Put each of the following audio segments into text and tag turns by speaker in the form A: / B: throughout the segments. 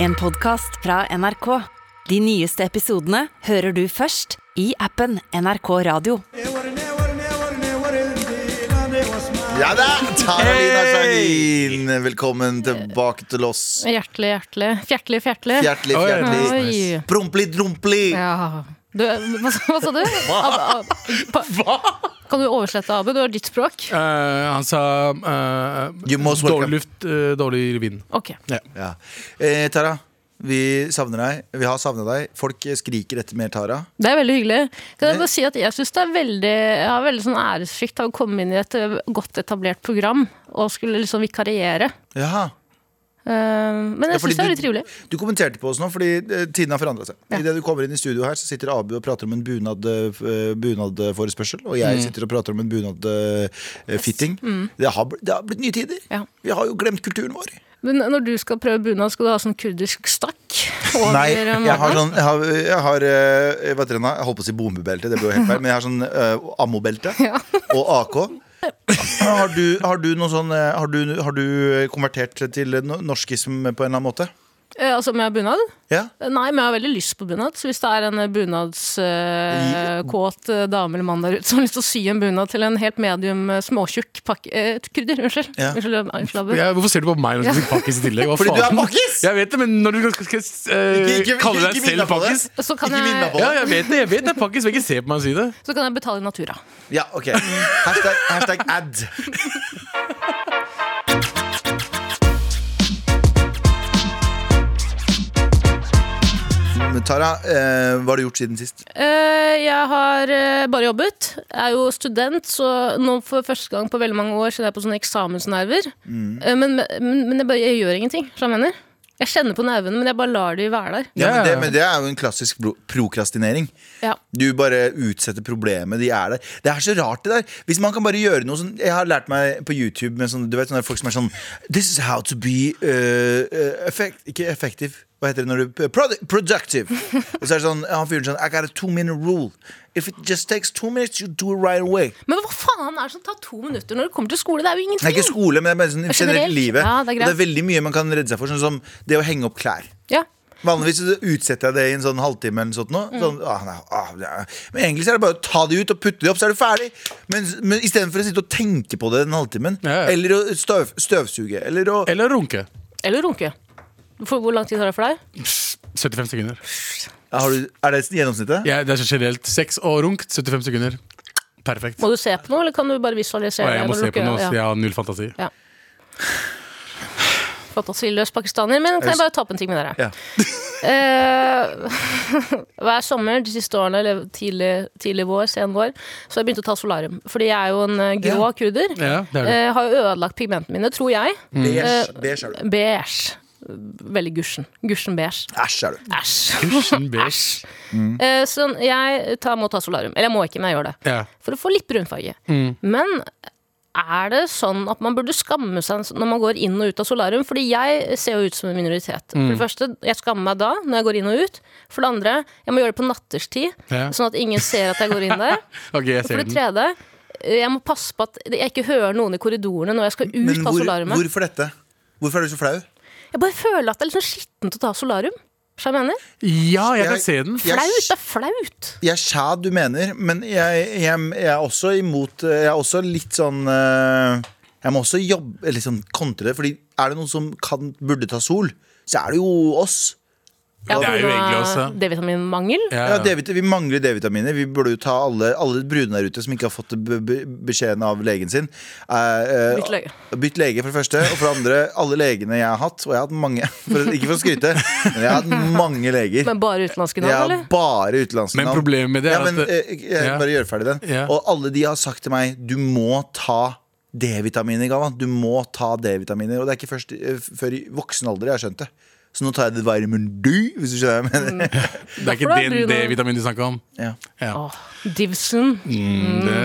A: En podcast fra NRK. De nyeste episodene hører du først i appen NRK Radio.
B: Ja da! Taralina Sahin, velkommen tilbake til oss.
C: Hjertelig, hjertelig. Fjertelig, fjertelig.
B: Fjertlig, fjertlig.
C: Oi.
B: Prompli, drompli.
C: Ja. Du, hva, sa- hva sa du? Ab, ab, pa, Kan du oversette, Abu? Du har ditt språk.
D: Eh, han sa eh,
B: You most
D: dårlig
B: welcome.
D: luft, eh, dårlig vind.
C: Ok.
B: Ja. Eh, Tara, vi savner deg. Vi har savnet deg. Folk skriker etter mer Tara.
C: Det er veldig hyggelig. Kan jeg bare si at jeg syns det er veldig Jeg har veldig sånn æresfrykt av å komme inn i et eh, godt etablert program og skulle liksom vikariere.
B: Jaha.
C: Eh, Men
B: Ja,
C: jeg
B: fordi
C: syns det er
B: du-
C: litt trivelig.
B: Du kommenterte på oss nå, fordi eh, tiden har forandra seg. I Idet du kommer inn i studio her, så sitter Abu og prater om en bunad, eh, f- eh, bunadforespørsel. Og
C: Mm.
B: jeg sitter og prater om en bunadfitting. Det, har bl- det har blitt nye tider.
C: Ja.
B: Vi har jo glemt kulturen vår.
C: Men når du skal prøve bunad, skal du ha sånn kurdisk stakk? over,
B: Nei,
C: eh,
B: jeg har
C: magen?
B: sånn Jeg har, jeg har eh, hva heter det nå? Jeg holdt på å si bombebelte, det ble jo helt feil. Men jeg har sånn eh, ammobelte og AK. Har du, har du noe sånn eh, har du, har du konvertert til no- norskism på en eller annen måte?
C: Eh, Altså med bunad?
B: Ja?
C: Nei, men jeg har veldig lyst på bunad. Så hvis det er en eh, bunadskåt eh, dame eller mann der ute som har lyst til å sy en bunad til en helt medium eh, småtjukk pakke eh, krydder, unnskyld.
B: Ja.
C: Unnskyld, eh, unnskyld Abu.
D: Ja, hvorfor ser du på meg når du sier pakkis i tillegg? Hva
B: Fordi du er
D: faen?
B: pakkis!
D: Jeg vet det, men når du skal, skal, eh,
B: Ikke- ikke- ikke
D: kalle deg
B: vinn deg
D: selv
B: på det.
D: pakkis
C: Så kan,
B: Ikke vinn meg på
C: jeg,
D: Ja, jeg vet det, jeg vet det er pakkis, men ikke se på meg og si det.
C: så kan jeg betale i natura.
B: Ja, ok. Hashtag, hashtag ad. Men Tara, eh, hva har du gjort siden sist?
C: Eh, jeg har eh, bare jobbet. Jeg er jo student, så nå for første gang på veldig mange år kjenner jeg på sånne eksamensnerver.
B: Mm.
C: Eh, men men, men jeg, bare, jeg gjør ingenting, skjønner du hva jeg mener. Jeg kjenner på nervene, men jeg bare lar de være der.
B: Ja, men det,
D: Ja.
B: men det er jo en klassisk bro- prokrastinering.
C: Ja.
B: Du bare utsetter problemet, de er der. Det er så rart, det der. Hvis man kan bare gjøre noe sånn Jeg har lært meg på YouTube med sånn, Du vet sånne folk som er sånn This is how to be uh, uh, effect, Ikke effective. Hva heter det når du produ- Productive. Og så er det sånn Han fyren sånn I got a two minute rule. If it just takes two minutes, you do it right away.
C: Men hva faen er det som tar to minutter når du kommer til skole? Det er jo
B: Det er
C: ingenting.
B: ikke skole, men det er bare sånn
C: Generelt.
B: generelt livet.
C: Ja, det er
B: Og
C: greit.
B: det er veldig mye man kan redde seg for, sånn som det å henge opp klær.
C: Ja.
B: Vanligvis så utsetter jeg det i en sånn halvtime eller sånt nå. Sånn, ah, nei, ah, ja. Men egentlig så er det bare å ta det ut og putte det opp, så er du ferdig. Men, men istedenfor å sitte og tenke på det den halvtimen,
D: Ja, ja.
B: eller å støv, støvsuge, eller å
D: Eller runke.
C: Eller runke. For hvor lang tid tar det for deg?
D: 75 sekunder.
B: har du, Er det gjennomsnittet?
D: Ja, det er så generelt. Sex og runk, 75 sekunder. Perfekt.
C: Må du se på noe, eller kan du bare
D: Å,
C: visualisere?
D: jeg må
C: når du
D: se på
C: runker?
D: noe, så
C: Ja.
D: jeg har null fantasi.
C: Fantasiløs pakistaner. Men kan jeg bare ta opp en ting med
B: Ja.
C: dere? Eh, hver sommer de siste årene, eller tidlig, tidlig vår, sen vår, så har jeg begynt å ta solarium. Fordi jeg er jo en eh, grå
B: Ja.
C: kurder.
D: Ja, det er Mm. det.
C: Eh, har jo ødelagt pigmentene mine, tror jeg. Eh,
B: Beige, beige er du.
C: Beige. Veldig gusjen. Gusjen beige.
B: Æsj er du.
C: Æsj.
D: Kusjen beige.
C: Eh, så jeg tar, må ta solarium. Eller jeg må ikke, men jeg gjør det.
D: Ja.
C: for å få litt brunfarge.
D: Mm.
C: Men er det sånn at man burde skamme seg når man går inn og ut av solarium? Fordi jeg ser jo ut som en minoritet. For
D: Mm.
C: det første, jeg skammer meg da, når jeg går inn og ut. For det andre, jeg må gjøre det på natterstid,
D: Ja.
C: sånn at ingen ser at jeg går inn der.
D: Ok, jeg
C: Og for
D: ser
C: det
D: den.
C: tredje, jeg må passe på at jeg ikke hører noen i korridorene når jeg skal ut
B: Men
C: av
B: hvor,
C: solariumet.
B: hvorfor dette? Hvorfor er du så flau?
C: Jeg bare føler at det er litt sånn skittent å ta solarium. Skjønner du hva jeg mener?
D: Ja, jeg
B: Jeg-
D: kan se den.
B: Jeg-
C: Flaut, det er flaut.
B: Jeg er skjæ du mener, men jeg, jeg, jeg er også imot eh, Jeg er også litt sånn eh, Jeg må også jobbe eller sånn kontre det, fordi er det noen som kan, burde ta sol, så er det jo oss.
C: Ja,
D: Det er jo
C: på grunn av
D: egentlig også-
C: D-vitaminmangel.
B: Ja, D-vit- Vi mangler D-vitaminer. Vi burde jo ta alle, alle brune der ute som ikke har fått be- be- beskjeden av legen sin. Eh, eh,
C: Bytt lege.
B: bytt lege, for det første. Og for det andre, alle legene jeg har hatt, og jeg har hatt mange for, Ikke for å skryte, men jeg har hatt mange leger.
C: Men bare utenlandske
B: Jeg
C: navn,
B: har
C: eller?
B: bare utenlandske
D: Men problemet med det
B: ja,
D: er
B: men,
D: at det-
B: eh, Jeg
D: Ja.
B: bare gjør ferdig den.
D: Ja.
B: Og alle de har sagt til meg du må ta D-vitamin i gaven. Du må ta D-vitaminer. Og det er ikke først eh, f- før i voksen alder jeg har skjønt det. Så nå tar jeg det vitamin D, hvis du skjønner hva jeg mener.
C: Mm.
D: Det er ikke
C: Derfor er
D: den
C: brun og-
D: D-vitaminen du snakker om.
B: Ja.
D: Ja.
C: Åh, Divsen.
D: Mm. Det,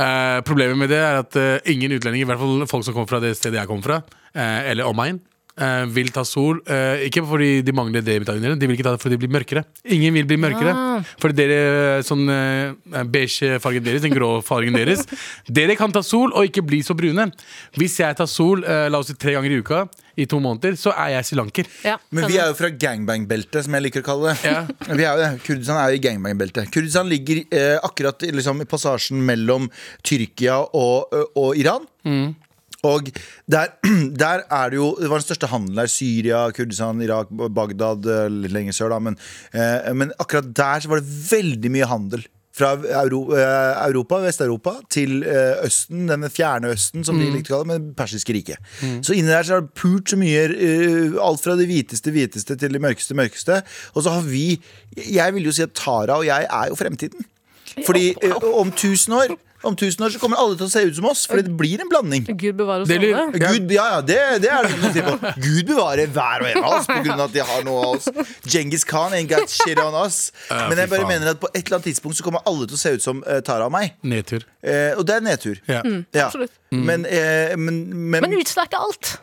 D: eh, problemet med det er at eh, ingen utlendinger, i hvert fall folk som kommer fra det stedet jeg kommer fra, eh, eller omegn, eh, vil ta sol. eh, ikke fordi de mangler D-vitaminer, de vil ikke ta det fordi de blir mørkere. Ingen vil bli mørkere. Fordi dere, sånn eh, beige fargen deres, den grå fargen deres Dere kan ta sol og ikke bli så brune. Hvis jeg tar sol eh, la oss si tre ganger i uka i to måneder, så er jeg srilanker.
C: Ja,
B: Men vi
C: skjønner.
B: er jo fra gangbang-beltet, som jeg liker å kalle det.
D: Ja.
B: Vi er jo det. Kurdistan er jo i gangbang-beltet. Kurdistan ligger eh, akkurat i, liksom, i passasjen mellom Tyrkia og, ø, og Iran. Og der, der er det jo Det var den største handelen der. Syria, Kurdistan, Irak, Bagdad, eh, litt lenger sør, da. Men, eh, men akkurat der så var det veldig mye handel. Fra Euro, eh, Europa, Vest-Europa, til eh, Østen, denne fjerne Østen, som de likte å kalle det, men det persiske riket. Så inni der så er det pult så mye eh, Alt fra det hviteste, hviteste til det mørkeste, mørkeste. Og så har vi Jeg vil jo si at Tara og jeg er jo fremtiden. Fordi eh, om tusen år Om tusen år så kommer alle til å se ut som oss, fordi det blir en blanding.
C: Gud bevare oss
D: Det blir-
C: alle.
B: Gud, ja, ja, det, det er det noe å si på. Gud bevare hver og en av oss på grunn av at de har noe av oss. Genghis Khan ain't got shit on us.
D: Ja,
B: Men jeg
D: fy
B: bare
D: faen.
B: mener at på et eller annet tidspunkt så kommer alle til å se ut som eh, Tara og meg.
D: Nedtur.
B: Eh, og det er nedtur.
D: Ja.
B: Ja.
C: absolutt.
B: Men, eh, men, men,
C: Men utseendet er ikke alt.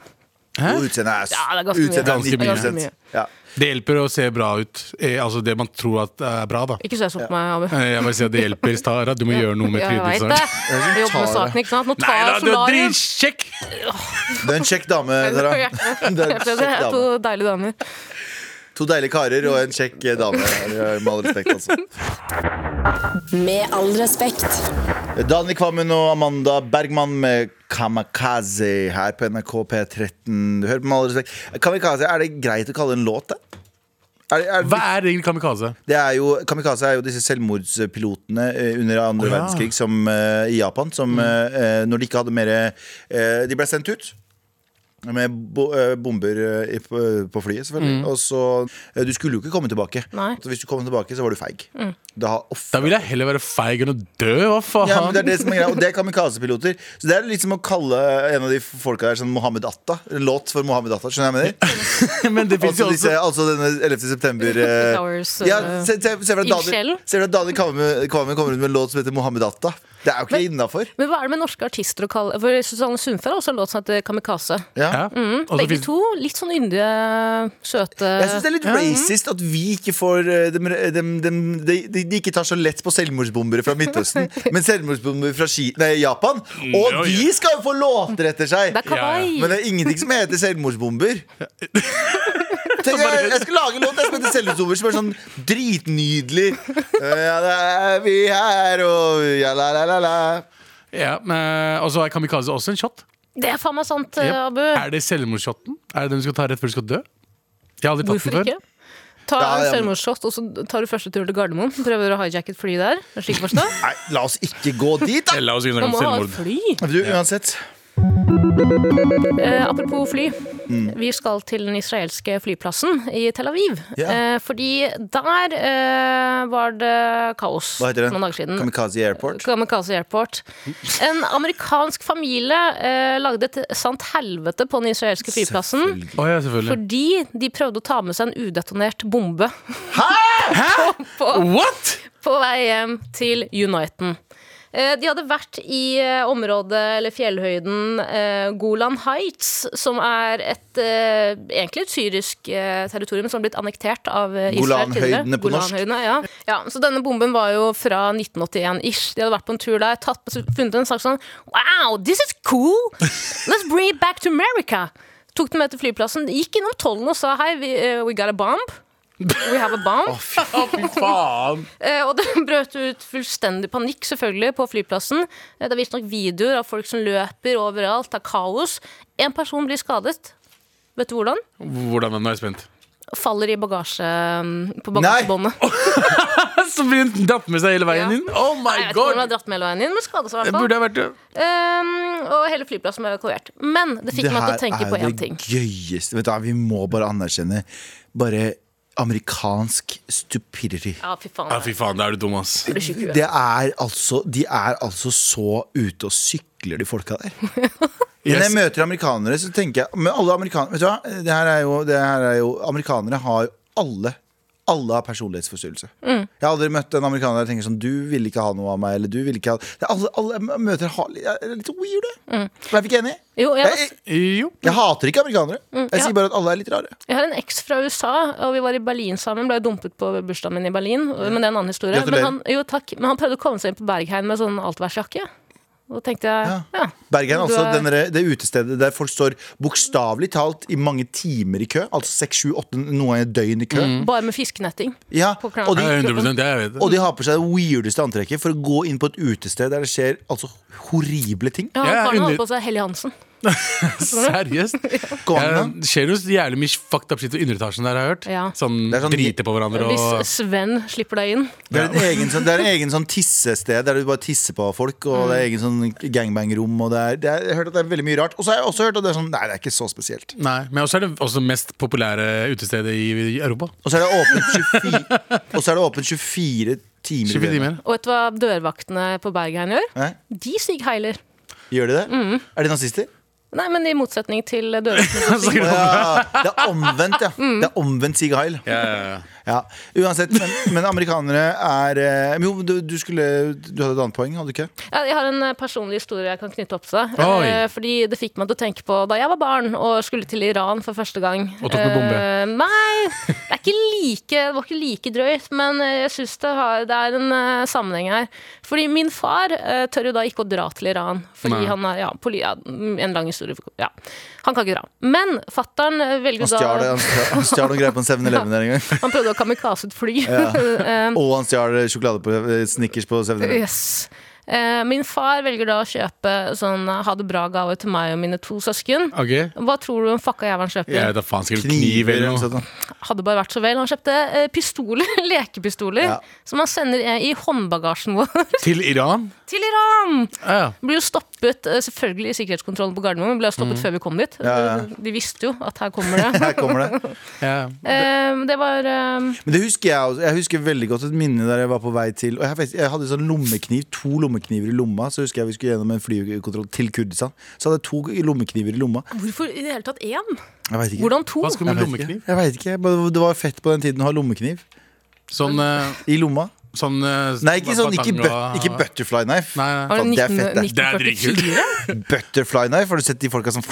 D: Hæ?
B: Jo, utseendet er, s-
C: Ja, det er ganske mye.
B: utseendet
D: Ganske mye.
B: 90%.
C: Ganske mye.
B: Ja.
D: Det hjelper å se bra ut. Eh, altså det man tror at er bra, da.
C: Ikke se sånn på meg, Abu.
D: Eh, Jeg bare sier at det hjelper, Tara. Du må gjøre noe med
C: Ja, jeg vet
D: trynet.
C: det.
D: ditt, sant?
C: Jeg jobber med saken, ikke sant. Nå
D: Nei
C: tar
D: da,
C: jeg
D: du er
C: solarium.
D: dritkjekk!
B: Du er en kjekk dame, Tara. Du er en
C: Det
B: kjekk
C: er to
B: dame.
C: deilige damer.
B: To deilige karer og en kjekk eh, dame. Med all respekt, altså.
E: Med all respekt.
B: Dani Kvammen og Amanda Bergman med Kamikaze her på NRK P13. Du hører på med all respekt. Kamikaze, er det greit å kalle det en låt, det? Er det, er
D: Hva
B: det,
D: er egentlig kamikaze?
B: det er jo, kamikaze er jo disse selvmordspilotene eh, under andre
D: Å, ja. Mm.
B: verdenskrig som, eh, i Japan. Som, eh, når de ikke hadde mer eh, De ble sendt ut. Med bo, eh, bomber eh, i- på, på flyet,
D: Mm.
B: selvfølgelig. Og så eh, Du skulle jo ikke komme tilbake.
C: Nei.
B: Så hvis du kom tilbake, så var du feig. Da, off,
D: Da vil jeg heller være feig enn å dø, hva faen?
B: ja, men det er det som er greia, og det er kamikazepiloter. Så det er litt som å kalle en av de folka der sånn Mohammed Atta. En låt for Mohammed Atta, skjønner jeg hva jeg mener?
D: Men det finnes
B: Altså,
D: jo
B: disse,
D: også
B: altså denne 11. september eh,
C: Towers,
B: ja,
C: eh,
B: se, se, se for deg Daniel,
C: ildsjelen.
B: se for deg Daniel Kvamme Kvamme kommer ut med en låt som heter Mohammed Atta. Det er jo ikke innafor.
C: Men hva er det med norske artister å kalle For Susanne Sundfjell har også en låt som heter Kamikaze.
B: Ja.
D: ja. og så
C: Mm, Begge
D: finnes-
C: to litt sånn yndige, søte
B: Jeg syns det er litt
C: Mm.
B: racist at vi ikke får eh, dem, dem, dem, de, de, de ikke tar så lett på selvmordsbombere fra Midtøsten, men selvmordsbombere fra Ki nei, Japan. Og
D: Ja, ja.
B: de skal jo få låter etter seg!
C: Det er kawaii.
B: Men det er ingenting som heter selvmordsbomber. Tenk, jeg, jeg skal lage en låt jeg som heter Selvmordsbomber, som er sånn dritnydelig. Eh, Ja, da er vi her, og ja, la, la, la, la.
D: ja, men- eh, Og så er kamikaze også en shot.
C: Det er faen meg sant,
D: Yep.
C: Eh, Abu.
D: Er det selvmordsshoten? Er det den du skal ta rett før du skal dø? Jeg har aldri tatt
C: Hvorfor
D: den før.
C: ikke? Ta
B: Ja, ja,
C: en
B: men-
C: selvmordsshot, og så tar du første turen til Gardermoen. Prøver å hijack et fly der. Er det Slik forstå.
B: Nei, la oss ikke gå dit, da!
D: Eh, La oss ikke
C: Man
D: snakke om
C: må ha et
D: selvmord.
C: fly.
B: Du, uansett.
C: Eh, apropos fly.
B: Mm.
C: Vi skal til den israelske flyplassen i Tel Aviv.
B: Ja.
C: Eh, fordi der eh, var det kaos
B: Hva heter
C: for noen dager
B: den?
C: siden.
B: Kamikaze Airport?
C: Kamikaze Airport. En amerikansk familie eh, lagde et sant helvete på den israelske flyplassen.
B: Selvfølgelig.
D: Å ja, selvfølgelig.
C: Fordi de prøvde å ta med seg en udetonert bombe
D: What?!
C: på vei hjem til Uniten. Eh, De hadde vært i eh, området, eller fjellhøyden, eh, Golan Heights, som er et, eh, egentlig et syrisk eh, territorium som har blitt annektert av eh, Israel tidligere.
B: Golanhøydene på norsk.
C: Golanhøydene, ja. ja. Så denne bomben var jo fra 1981-ish. De hadde vært på en tur der, tatt, funnet en sak sånn Wow, this is cool! Let's bring it back to America! Tok den med til flyplassen, gikk innom tollen og sa hei, we, eh, we got a bomb. We have a bomb.
D: Å, fy faen!
C: Eh, Og det brøt ut fullstendig panikk selvfølgelig på flyplassen. Eh, Det er visstnok videoer av folk som løper overalt, det er kaos. En person blir skadet. Vet du hvordan?
D: Hvordan er den? Nå er jeg spent.
C: Faller i bagasje mm, på
B: Nei!
C: bagasjebåndet.
D: Oh Så blir den dratt med seg hele veien
C: Ja.
D: inn? Oh my
C: Jeg vet ikke om han har
D: god!
C: dratt med hele veien inn, men skadet seg i hvert
D: Det
C: fall.
D: burde jeg vært død.
C: Ehm, og hele flyplassen ble evakuert. Men det fikk meg til å tenke på én ting.
B: Det gøyeste. Vet du, hva, vi må bare anerkjenne bare amerikansk stupidity.
C: Ja, fy faen.
D: Ja, fy faen, da er du dum, ass.
C: jeg blir syk i huet.
B: Det er altså, de er altså så ute og sykler, de folka der. Når jeg
D: Yes.
B: møter amerikanere, så tenker jeg Men alle amerikanere, vet du hva? Det her er jo, det her er jo Amerikanere har jo alle alle har personlighetsforstyrrelse.
C: Mm.
B: Jeg har aldri møtt en amerikaner som tenker sånn Du vil ikke ha noe av meg, eller du vil ikke ha det er alle, alle jeg møter har litt- er litt weirde. Er vi ikke enige?
C: Mm. Jo, jeg,
B: Jeg,
C: var,
B: jeg,
D: Jo.
B: jeg hater ikke amerikanere. Jeg
C: ja.
B: sier bare at alle er litt rare.
C: jeg har en eks fra USA, og vi var i Berlin sammen. Ble dumpet på bursdagen min i Berlin, men det er en annen historie. Men
B: Gratulerer.
C: han, jo, takk, men han prøvde å komme seg inn på Bergheim med sånn altværsjakke. Og da tenkte jeg ja.
B: Bergen,
C: Du
B: altså
C: er-
B: den der- det utestedet der folk står bokstavelig talt i mange timer i kø. Altså seks, sju, åtte, noen ganger et døgn i kø.
C: Bare med fiskenetting.
B: Ja,
C: Mm. På klærne.
B: og
D: Ja,
B: de,
D: 100 jeg vet det.
B: og de har på seg det weirdeste antrekket for å gå inn på et utested der det skjer altså horrible ting.
C: Ja, han
D: Jeg er
C: karen
D: under-
C: hadde på seg Helly Hansen.
D: Seriøst?
B: Gå an, da.
D: Jeg- Det skjer jo så jævlig mye fucked up shit i underetasjen der, har jeg hørt.
C: Ja.
D: Sånn,
B: Det er sånn-
D: drite på hverandre og
C: Hvis Sven slipper deg inn.
B: Det er en egen, sånn, det er en egen sånn tissested der du bare tisser på folk. Og det er
C: Mm.
B: egen sånn gangbang-rom. Og det er, det er, jeg har hørt at det er veldig mye rart. Og så har jeg også hørt at det er sånn Nei, det er ikke så spesielt.
D: Nei, men også er det også mest populære utestedet i i Europa.
B: Og så er det åpent 24, og så er det åpent 24 timer. i
D: 24
B: døgnet.
D: timer.
C: Og vet du hva dørvaktene på Bergheim gjør?
B: Hæ?
C: De sigheiler.
B: Gjør de det?
C: Mm.
B: Er de nazister?
C: Nei, men i motsetning til dørvaktene. som
D: Så- sånn.
C: sier-
B: Ja, det er omvendt, ja. Det er omvendt Sig Heil.
D: Ja, ja, ja.
B: Ja. Uansett, men, men amerikanere er eh, men Jo, du, du skulle Du hadde et annet poeng, hadde du ikke?
C: Ja, Jeg har en eh, personlig historie jeg kan knytte opp til det.
D: Oi.
C: Eh, Fordi det fikk meg til å tenke på da jeg var barn og skulle til Iran for første gang.
D: Og tok med bombe.
C: Eh, Nei, det, er ikke like, det var ikke like drøyt, men eh, jeg syns det, har- det er en eh, sammenheng her. Fordi min far eh, tør jo da ikke å dra til Iran, fordi
D: Nei.
C: han er ja, poli, ja, En lang historie. for- Ja. Han kan ikke dra. Men fattern eh, velger
B: Han stjal det,
C: da
B: han stjal- han stjal noen greier på en 7-Eleven der en gang.
C: Han prøvde å kamikaze et fly. Eh,
B: Og han stjal sjokolade på eh, Snickers på 7-Eleven.
C: Yes. Eh, min far velger da å kjøpe sånn eh, ha det bra-gave til meg og mine to søsken.
D: Ok.
C: Hva tror du om fucka jævelen kjøper?
D: Jeg vet da faen, sikkert kniv
B: Kniver
D: eller
B: eller noe
D: noe.
B: sånt. da.
C: Hadde bare vært så vel. Han kjøpte eh, pistoler, lekepistoler,
B: Ja.
C: som han sender eh, i håndbagasjen vår
D: Til Iran?
C: til Iran!
D: Ja,
C: Blir jo stoppet, eh, selvfølgelig, i sikkerhetskontrollen på Gardermoen. men Ble jo stoppet før vi kom dit.
B: Mm. Ja, ja.
C: De visste jo at her kommer det.
B: Her kommer det.
D: ja.
C: Eh, det var eh,
B: Men det husker jeg også. Jeg husker veldig godt et minne der jeg var på vei til Og jeg, vet, jeg hadde sånn lommekniv, to lommekniver i lomma. Så husker jeg vi skulle gjennom en flykontroll til Kurdistan. Så hadde jeg to lommekniver i lomma.
C: Hvorfor i det hele tatt én?
B: Jeg veit ikke.
C: Hvordan to?
D: Hva skal du med lommekniv?
B: Jeg vet ikke, men Det var fett på den tiden å ha lommekniv
D: Sånn, eh,
B: i lomma.
D: sånn eh,
B: Nei, ikke sånn, ikke, but,
D: batang og-
B: ikke butterfly knife.
D: Nei, nei.
C: Var
B: Faen, det er
C: nitten-
B: fett, det.
D: Det er dritkult.
C: 1944?
B: Butterfly knife, har du sett de folka som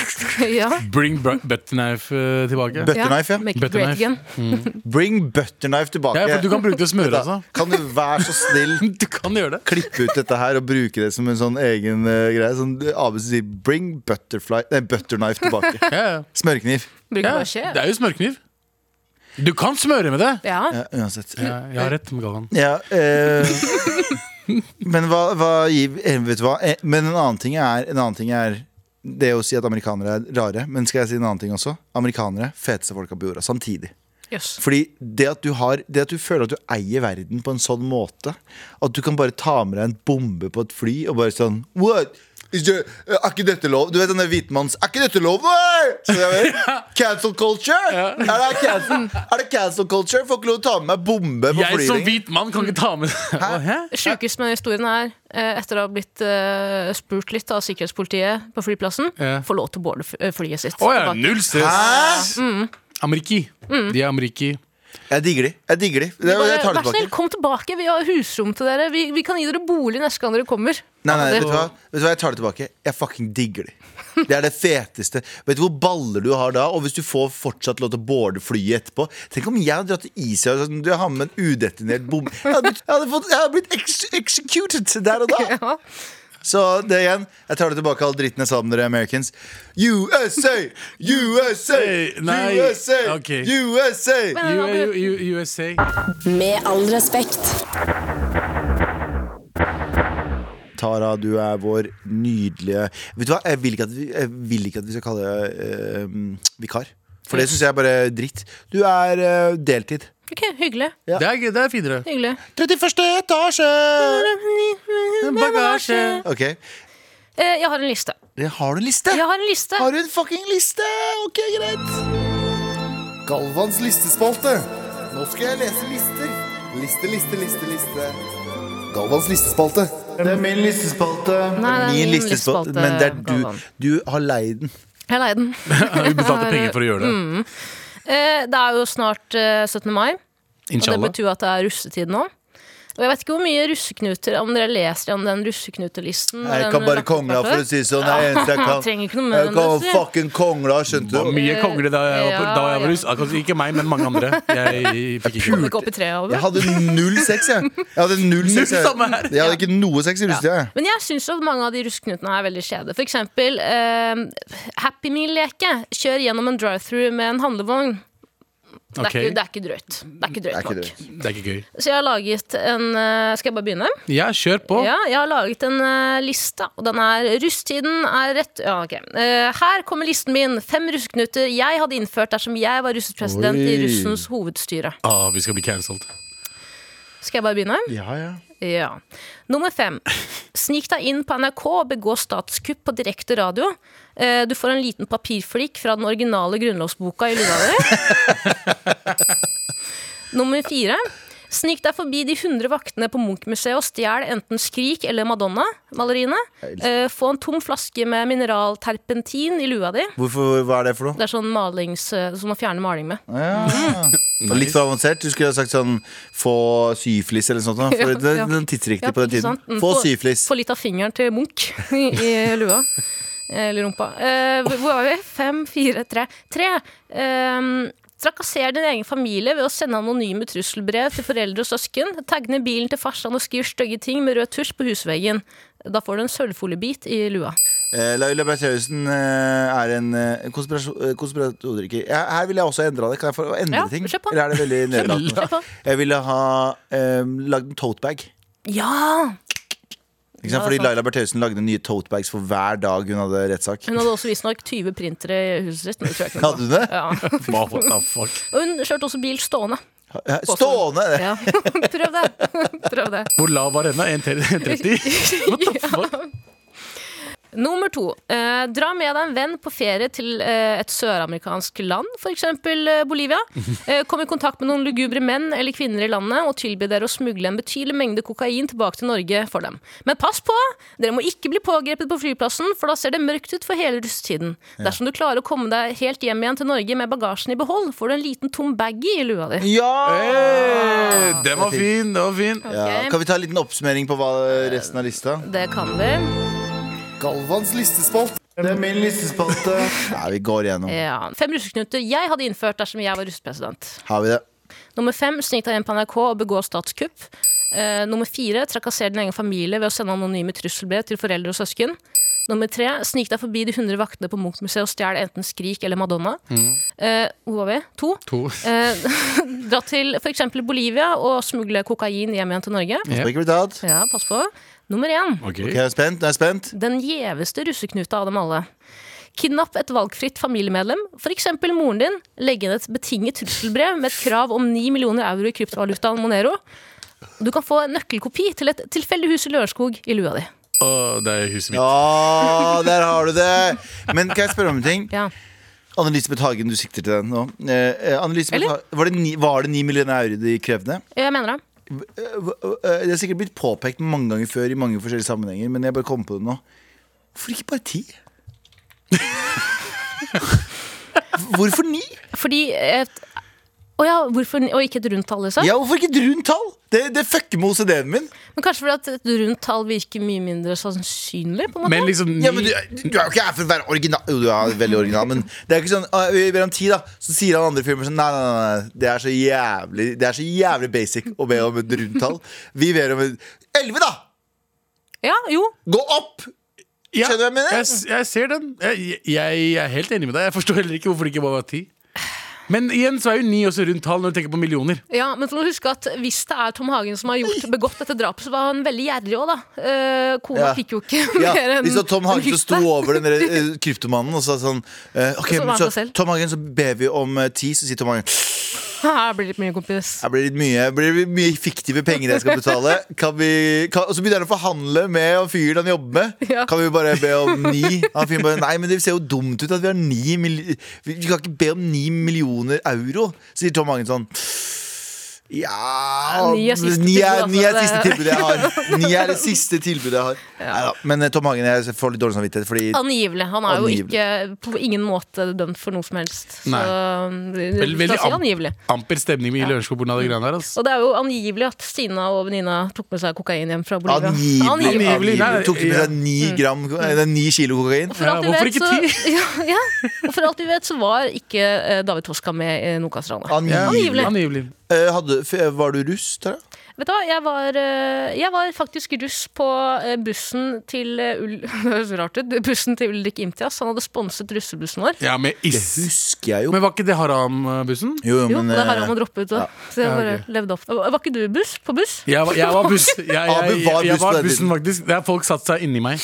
C: ja.
D: Bring bu- butter knife eh, tilbake.
B: Butterknife, ja.
C: Make it
D: Butterknife.
C: great again.
B: Bring butterknife tilbake.
D: Ja, for du kan bruke det til å smøre, altså.
B: Kan du være så snill
D: Du kan gjøre det.
B: klippe ut dette her og bruke det som en sånn egen eh, greie. Sånn, Abu sier 'bring butterfly, nei, butterknife tilbake'.
D: Ja, ja.
B: Smørkniv.
C: Bruker
D: Ja,
C: bare skje.
D: det er jo smørkniv. Du kan smøre med det!
C: Ja.
B: Ja, uansett.
D: Ja, jeg har rett, Galvan.
B: Ja, eh, men hva, hva gir- eh, Vet du hva? Eh, Men en annen ting er, en annen ting er det å si at amerikanere er rare, men skal jeg si en annen ting også? Amerikanere, feteste folka på jorda, samtidig.
C: Jøss.
B: Fordi det at, du har, det at du føler at du eier verden på en sånn måte At du kan bare ta med deg en bombe på et fly og bare sånn What? Is there, eh, er ikke dette lov? Du vet den der hvitmanns Er ikke dette lov, nei? Så jeg vet, Cancel culture? Er, det cancel, er det cancel culture? Får ikke lov å ta med meg bombe på
D: Jeg
B: flyet
D: som
B: lenger.
D: hvit mann kan ikke ta med Hæ?
C: Sjukest med historien er, eh, etter å ha blitt eh, spurt litt av sikkerhetspolitiet på flyplassen,
D: Ja.
C: får lov til å boarde f- eh, flyet sitt.
D: Å ja,
C: tilbake.
D: null stress. Mm. Ameriki.
C: Mm.
D: De er Ameriki.
B: Jeg digger de. Jeg digger de. Jeg,
C: Bare,
B: jeg tar
C: Vær
B: det
C: så snill,
B: tilbake.
C: kom tilbake! Vi har husrom til dere. Vi, vi kan gi dere bolig neste gang dere kommer.
B: Nei, nei,
C: det-
B: vet du, hva? vet du hva? Jeg tar det tilbake. Jeg fucking digger de. Det er det feteste. Vet du hvor baller du har da? Og hvis du får fortsatt lov til å boarde flyet etterpå Tenk om jeg hadde dratt til Israel og sagt du jeg har med en udetinert bom. Jeg hadde, jeg hadde, fått, jeg hadde blitt ex executed der og da.
C: Ja.
B: Så det igjen, jeg tar det tilbake all dritten jeg sa om dere Americans. USA! USA!
D: Nei,
B: USA!
D: ok.
B: USA!
D: U- U- U- USA.
E: Med all respekt.
B: Tara, du er vår nydelige Vet du hva, jeg vil ikke at vi, jeg vil ikke at vi skal kalle deg eh, vikar. For det syns jeg er bare dritt. Du er eh, deltid.
C: Ok, hyggelig.
B: Ja.
D: Det er, gøy, det er finere.
C: hyggelig.
B: 31. etasje!
D: Bagasje.
B: Ok,
C: Eh, jeg har en liste.
B: det Har du en liste?
C: Jeg har en liste.
B: Har du en fucking liste? Ok, greit. Galvans listespalte. Nå skal jeg lese lister. Liste, liste, liste, liste. Galvans listespalte. Det er min listespalte.
C: Nei, det
B: min
C: er min
B: listespalte,
C: listespalte,
B: Men det er
C: Galvan.
B: du. Du har leid den.
C: Jeg leier den. Mm.
D: Vi betalte penger for å gjøre det.
C: Eh, det er jo snart eh, 17. mai. Og det
D: Inshallah.
C: betyr jo at det er russetid nå. Og jeg vet ikke hvor mye russeknuter Om dere leser om den russeknutelisten.
B: Jeg
C: Mm, den
B: kan bare
C: lappen-
B: kongla, for å si det sånn. Det er eneste jeg
C: Jeg
B: kan.
C: trenger ikke noe mer
B: Jeg
C: enn det.
B: kan
C: sier jeg.
B: fucking kongla, skjønte
D: Det var
B: du?
D: mye kongler da jeg var, da jeg
C: Ja,
D: var russ. Akkurat Ikke meg, men mange andre. Jeg fikk ikke
C: Kom ikke opp i treet over.
B: Jeg hadde null sex, jeg. Jeg hadde null sex jeg.
D: samme her.
B: Jeg hadde ikke noe sex i russetida. jeg.
C: Men jeg syns at mange av de russeknutene er veldig kjede. For eksempel eh, Happy Meal-leke. Kjør gjennom en drive-through med en handlevogn. Det er,
D: Ok.
C: ikke, det er ikke drøyt. Det er ikke
B: Det er
C: drøyt
B: ikke
C: nok.
B: det.
D: Det er ikke gøy.
C: Så jeg har laget en eh, Skal jeg bare begynne?
D: Ja, kjør på.
C: Ja, jeg har laget en eh, liste, og den er Rusttiden er rett ja, ok. Eh, Her kommer listen min. Fem russeknuter jeg hadde innført dersom jeg var russepresident i
B: Oi.
C: russens hovedstyre.
D: Å, vi skal bli cancelled.
C: Skal jeg bare begynne?
B: Ja, ja.
C: Ja. Nummer fem. Snik deg inn på NRK og begå statskupp på direkte radio. Eh, Du får en liten papirflik fra den originale grunnlovsboka i lua di. Nummer fire. Snik deg forbi de 100 vaktene på Munch-museet og stjel enten Skrik eller Madonna-maleriene. Eh, Få en tom flaske med mineralterpentin i lua di.
B: Hvorfor, hva er det for noe?
C: Det er sånn malings, eh, som man fjerner maling med.
B: Ja. Mm. Litt for avansert. Du skulle ha sagt sånn få syflis eller sånt. da, For
C: Ja,
B: det
C: ja.
B: er den tidsriktig
C: Ja,
B: på den
C: ikke
B: tiden.
C: sant? Mm,
B: Få syflis.
C: Få litt av fingeren til Munch i, i lua. Eller rumpa. Eh, hvor var vi? Fem, fire, tre. Tre! Eh, trakasser din egen familie ved å sende anonyme trusselbrev til foreldre og søsken. Tagg ned bilen til farsan og skriv stygge ting med rød tusj på husveggen. Da får du en sølvfoliebit i lua.
B: Eh, Laila Bertheussen eh, er en eh, konspirasjon- eh, konspiratoriker. Ja, her vil jeg også endre det. Kan jeg få endre
C: Ja,
B: ting?
C: kjør på.
B: Eller er det veldig
C: Kjør
B: nedlatende?
C: på.
B: Jeg ville ha eh, lagd en totebag.
C: Ja!
B: Ikke sant?
C: Ja, det
B: Fordi
C: er sant.
B: Laila Bertheussen lagde nye totebags for hver dag hun hadde rettssak.
C: Hun hadde også visstnok 20 printere i huset sitt. Men det tror jeg ikke
B: Hadde
C: noe på.
B: hun det?
C: Ja.
D: Hva, What the fuck?
C: Og hun kjørte også bil stående.
B: Ja, Eh, Stående!
C: Ja. Prøv det. Prøv det.
D: Hvor lav var denne? 1,30? What the fuck?
C: Nummer to. Eh, dra med deg en venn på ferie til eh, et søramerikansk land, f.eks. Eh, Bolivia. Eh, kom i kontakt med noen lugubre menn eller kvinner i landet og tilby dere å smugle en betydelig mengde kokain tilbake til Norge for dem. Men pass på! Dere må ikke bli pågrepet på flyplassen, for da ser det mørkt ut for hele russetiden. Dersom du klarer å komme deg helt hjem igjen til Norge med bagasjen i behold, får du en liten tom baggie i lua di.
B: Ja!
D: Hey, den var fin, den var fin.
B: Ja, Kan vi ta en liten oppsummering på hva resten av lista?
C: Det kan vi.
B: Galvans listespalte. Det er min listespalte. Ja, vi går igjennom.
C: Ja. Fem russeknuter jeg hadde innført dersom jeg var russepresident.
B: Har vi det?
C: Nummer fem, snik deg inn på NRK og begå statskupp. Eh, nummer fire, trakasser din egen familie ved å sende anonyme trusselbrev til foreldre og søsken. Nummer tre, snik deg forbi de 100 vaktene på Munch-museet og stjel enten Skrik eller Madonna. Eh, hvor var vi? To.
D: To.
C: Eh, dra til f.eks. Bolivia og smugle kokain hjem igjen til Norge.
D: Ja.
B: Ikke blitt tatt?
C: Ja, pass på. Nummer én,
D: Ok.
B: Ok, jeg er spent. Jeg er spent.
C: den gjeveste russeknuta av dem alle. Kidnapp et valgfritt familiemedlem, f.eks. moren din. Legg inn et betinget trusselbrev med et krav om 9 millioner euro i kryptovalutaen Monero. Du kan få en nøkkelkopi til et tilfeldig hus i Lørenskog i lua di.
D: Å, det er huset mitt.
B: Ja, der har du det! Men kan jeg spørre om en ting?
C: Ja.
B: Anne-Elisabeth Hagen, du sikter til den nå. Eh, eh, Anne-Elisabeth
C: Eller?
B: Ha- var, det ni, var det ni millioner euro de krevde?
C: Jeg mener det.
B: Eh, hva- eh, Det har sikkert blitt påpekt mange ganger før i mange forskjellige sammenhenger, men jeg bare kom på det nå. Hvorfor ikke bare ti? Hvorfor ni?
C: Fordi et å ja, hvorfor, og ikke et rundt tall, liksom?
B: Ja, hvorfor ikke et rundt tall? Det, det fucker med OCD-en min.
C: Men kanskje fordi at et rundt tall virker mye mindre sannsynlig? på en måte?
D: Men liksom
B: Ja, men du,
D: ni
B: du er jo ikke her for å være original. Jo, du er veldig original, men det er jo ikke sånn «Å, Vi ber om ti, da. Så sier han andre filmer sånn Nei, nei, nei. nei, Det er så jævlig Det er så jævlig basic å be om et rundtall. Vi ber om et Elleve, da!
C: Ja, jo.
B: Gå opp!
D: Ja,
B: Skjønner du hva jeg mener?
D: Jeg, s- jeg ser den. Jeg, jeg, jeg er helt enig med deg. Jeg forstår heller ikke hvorfor det ikke bare var ti. Men igjen så er jo ni også rundt tall når du tenker på millioner.
C: Ja, men for å huske at Hvis det er Tom Hagen som har gjort, begått dette drapet, så var han veldig gjerrig òg, da. Eh, kona
B: Ja.
C: fikk jo ikke
B: Ja,
C: mer enn
B: Vi så Tom Hagen som
C: en
B: sto over den der, eh, kryptomannen og sa sånn eh, Ok,
C: Så var
B: men
C: han seg
B: så
C: selv.
B: Tom Hagen, så ber vi om eh, ti, så sier Tom Hagen Det
C: Her blir det litt mye, kompis.
B: blir litt mye, det blir mye fiktive penger jeg skal betale. Kan vi, kan, og så begynner han å forhandle med han fyren han jobber med.
C: Ja.
B: Kan vi bare be om ni? Han fyren bare Nei, men det ser jo dumt ut at vi har ni mill... Vi vi kan ikke be om ni millioner euro, sier Tom Hagen sånn. Ja
C: Ni er siste
B: Ni er,
C: tilbud,
B: ni er
C: altså.
B: siste tilbudet jeg har. Ni er det siste tilbudet jeg har. Neida. Men eh, Tom Hagen, jeg får litt dårlig samvittighet. Fordi
C: Angivelig. Han er jo
B: Angivelig.
C: ikke på ingen måte dømt for noe som helst. Så
D: Nei.
C: Vel,
D: Veldig
C: si
D: am-
C: angivelig.
D: amper stemning i Lørenskog pga. de greiene der. Altså.
C: Og det er jo angivelig at Stina og venninna tok med seg kokain hjem fra Bolivia.
B: Angivelig.
C: Angivelig. Mm.
D: Angivelig, nei,
B: Tok du med deg ni, gram, eh, ni kilo kokain?
C: For alt vi
D: Ja, hvorfor
C: vet,
D: ikke
C: så, ja, ja. Og for alt vi vet, så var ikke eh, David Toska med i Nokas-ranet.
B: Angivelig.
C: Angivelig.
D: Angivelig.
B: Eh, hadde, f- var du russ? Tara?
C: Vet du hva, jeg var, eh, jeg var faktisk russ på eh, bussen til eh, Ul Det høres rart ut. Bussen til Ulrik Imtias. Han hadde sponset russebussen vår.
D: Ja, med
B: Det
D: is.
B: husker jeg jo.
D: Men var ikke det Haram-bussen?
B: Jo,
C: Jo,
B: men
C: og det har
B: eh,
C: han å droppe ut. Da. Så jeg
D: Ja,
C: bare
D: ok.
C: levde opp. Var ikke du buss? på buss?
D: Jeg var, jeg var buss. Jeg, jeg,
B: Abu
D: jeg,
B: var
D: jeg,
B: buss på
D: var
B: den
D: bussen,
B: tiden.
D: faktisk. Der folk satte seg inni meg.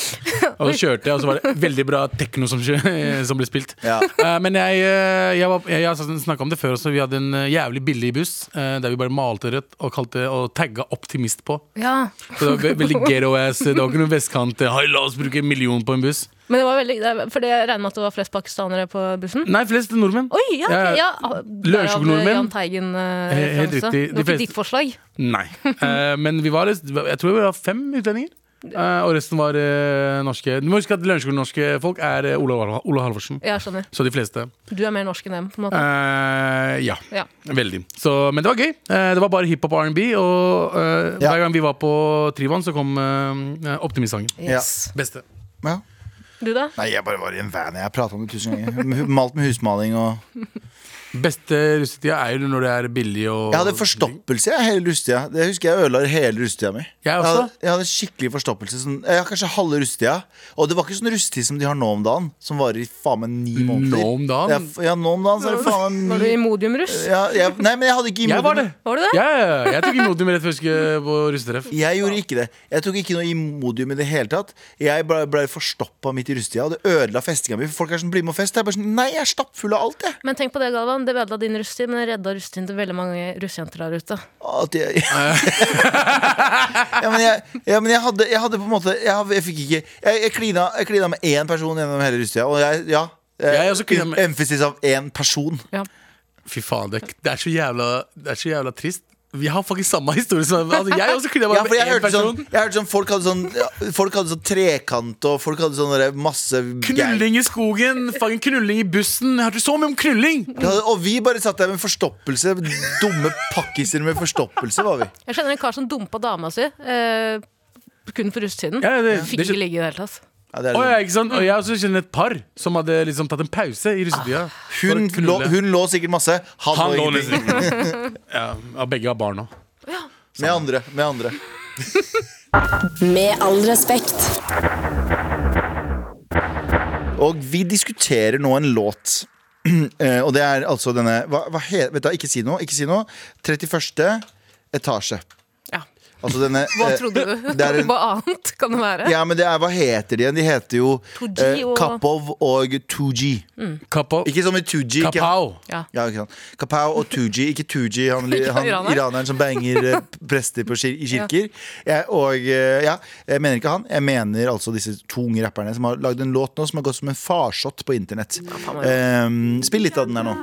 D: Og så kjørte jeg, og så var det veldig bra tekno som, kjø- som ble spilt.
B: Ja.
D: Eh, men jeg, eh, jeg, var- jeg, jeg snakka om det før også. Vi hadde en eh, jævlig billig buss eh, der vi bare malte rødt og kalte og tagga 'optimist' på.
C: Ja.
D: Så det var ve- veldig ghetto-ass. Det var ikke noe vestkant. eh, Hei, la oss bruke en million på en buss.
C: Men det var veldig, det- for det- jeg regner med at det var flest pakistanere på bussen?
D: Nei, flest nordmenn.
C: Oi, ja!
D: Ja,
C: ok, ja. Derav
D: Lørenskog-nordmenn.
C: Jahn Teigen-referanse.
D: Helt
C: Det
D: riktig.
C: var
D: De
C: ikke
D: fleste-
C: ditt forslag.
D: Nei. Eh, men vi var, jeg tror vi var fem utlendinger. Eh, og resten var eh, norske. Du må huske at Lørenskog-norske folk er eh, Olav Hal- Olav Halvorsen.
C: Jeg skjønner.
D: Så de fleste.
C: Du er mer norsk enn dem, på en måte.
D: Eh, ja.
C: Ja.
D: Veldig. Så, men det var gøy. Eh, det var bare hiphop og R&B. Og eh,
B: Ja.
D: hver gang vi var på Tryvann, så kom eh, Optimist-sangen.
C: Yes.
D: Beste.
B: ja.
C: Du, da?
B: Nei, jeg bare var i en van. Jeg prata om det tusen ganger. Malt med husmaling og
D: Beste russetida er jo når det er billig og
B: Jeg hadde forstoppelse jeg, hele russetida. Det husker jeg ødela hele russetida mi.
D: Jeg også.
B: hadde, jeg hadde skikkelig forstoppelse. Sånn, jeg har kanskje halve russetida. Og det var ikke sånn russetid som de har nå om dagen, som varer i faen meg ni måneder.
D: Nå om dagen?
B: Ja, f- Ja, nå om dagen så er det faen
C: Var
B: meg
C: du
B: ni-
C: i Modium-russ?
B: ja, jeg, Nei, men jeg hadde ikke
D: Jeg var det!
C: Var du det?
D: Ja, ja, ja. jeg tok imot dem rett før jeg skulle på russetreff.
B: Jeg gjorde ikke det. Jeg tok ikke noe Imodium i det hele tatt. Jeg ble, ble forstoppa midt i russetida, og det ødela festinga mi. Folk er sånn 'bli med og fest'. Jeg er bare sånn Nei, jeg er stappfull av alt, jeg.
C: Men tenk på det, Galvan. Det ødela din russetid, men det redda russetiden til veldig mange russejenter der ute.
B: At jeg ja, men jeg, ja, men jeg, hadde, jeg hadde på en måte Jeg, hadde- jeg fikk ikke Jeg, jeg, klina, jeg klina med én person gjennom hele russetida, og jeg Ja.
D: Jeg også klina med-
B: Emphasis av én person.
C: Ja.
D: Fy faen, det, det, er så jævla, det er så jævla trist. Vi har faktisk samme historie. Som, altså, jeg også kunne
B: Ja,
D: bare
B: for jeg
D: med én
B: hørte
D: person.
B: sånn, jeg hørte sånn folk, hadde sånn ja, folk hadde sånn trekant, og folk hadde sånn der masse
D: Knulling i skogen, fucking knulling i bussen. Jeg hørte så mye om knulling!
B: Ja, og vi bare satt der med forstoppelse. Dumme pakkiser med forstoppelse, var vi.
C: Jeg kjenner en kar som dumpa dama si. Eh, kun for russetiden.
D: Ja, det-
C: Fikk
D: det skjøn-
C: ikke ligge i det hele tatt.
B: Ja, det er
D: Å,
B: sånn.
D: ja, ikke sant? Og jeg også kjenner et par som hadde liksom tatt en pause i russetida. for
B: hun,
D: å knulle.
B: lå, hun lå sikkert masse. Han,
D: Han lå
B: lå ingenting.
D: nesten ja, og Begge har barn nå.
B: Med andre. Med andre.
E: Med all respekt.
B: Og vi diskuterer nå en låt. Eh, og det er altså denne hva, hva he, Vet du, hva, Ikke si noe. ikke si noe 31. etasje.
C: Ja.
B: Altså denne
C: Hva
B: eh,
C: trodde du?
B: det er en-
C: Hva annet kan det være?
B: Ja, men det er, Hva heter de igjen? De heter jo
C: 2G og-
B: Kapov og 2G.
D: Kapo,
B: Ikke som i 2G. ikke-
D: kapao.
C: Ja.
B: Ja, ikke sant. Kapow og 2G. Ikke 2G, han,
C: Ikke
B: han
C: iraner.
B: iraneren som banger eh, prester på kir i kirker. Jeg, og eh, ja, jeg mener ikke han. Jeg mener altså disse to unge rapperne som har lagd en låt nå som har gått som en farsott på internett. Ehm, spill litt av den her nå.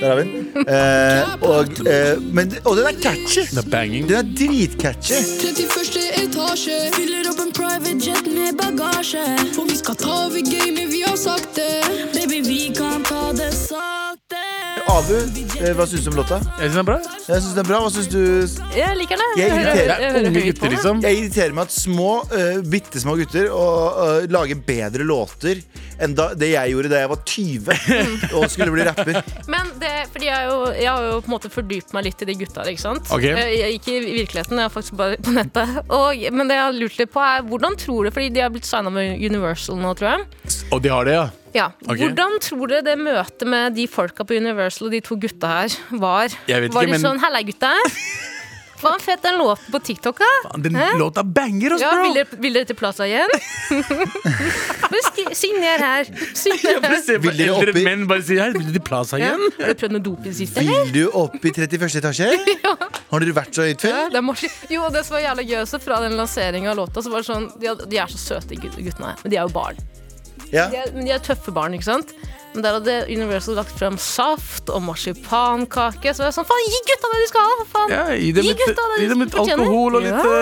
B: Der har vi den. Eh, og, eh, men, og den er catchy!
D: Det er banging.
B: Den er dritcatchy.
F: 31. etasje. Fyller opp en private jet med bagasje. For vi skal ta over gamet, vi har sagt det. Baby, vi kan ta det sakte.
B: Abu, eh, hva syns du om låta?
D: Jeg synes det er bra.
B: Jeg syns den er bra. Hva syns du,
C: Jeg liker det.
B: Jeg
C: hører-
B: irriterer.
D: Det
C: jeg
D: er
C: hører
D: unge
C: høyt på
D: gutter,
C: det.
D: liksom.
B: Jeg irriterer meg at små, uh, bitte små gutter og, øh, lager bedre låter enn da, det jeg gjorde da jeg var 20 og skulle bli rapper.
C: Men Mm. det, fordi jeg, er jo, jeg har jo på en måte fordypt meg litt i de gutta der, ikke sant?
D: Ok.
C: Eh, Jeg, ikke i virkeligheten, jeg er faktisk bare på nettet. Og, men det jeg har lurt litt på er, hvordan tror du, fordi de har blitt signet med Universal nå, tror jeg.
D: Og de har det, ja.
C: Ja.
D: Ok.
C: Hvordan tror dere det møtet med de folka på Universal og de to gutta her var?
D: Jeg vet
C: var
D: ikke,
C: de
D: men-
C: sånn, hella gutta, hva en fet den låten på TikTok, da?
D: Den låta banger, ass,
C: Ja, vil
D: bro!
C: dere, vil dere til Plaza igjen? Bare skri- Signer her. Signer her.
B: Vil dere
D: Eldre
B: oppi-
D: menn bare sier hei, vil de pla seg
C: Ja.
D: igjen?
C: Har du prøvd noe doping sist, eller?
B: Vil du opp i 31. etasje? Har dere vært så høyt før?
C: Ja, det er morsomt. Jo, det som var jævla gøy også fra den lanseringa av låta, så var det sånn De, er- de er så søte, gut- guttene her. Men de er jo barn.
B: Ja.
C: De er, men de er tøffe barn, ikke sant? Men der hadde Universal lagt frem saft og marsipankake. Så jeg var sånn, faen, gi gutta det de skal ha! for faen
D: Ja, gi dem
C: Gi
D: litt,
C: gutta det
D: gi
C: de
D: dem litt
C: fortjener.
D: alkohol og litt,
C: Ja.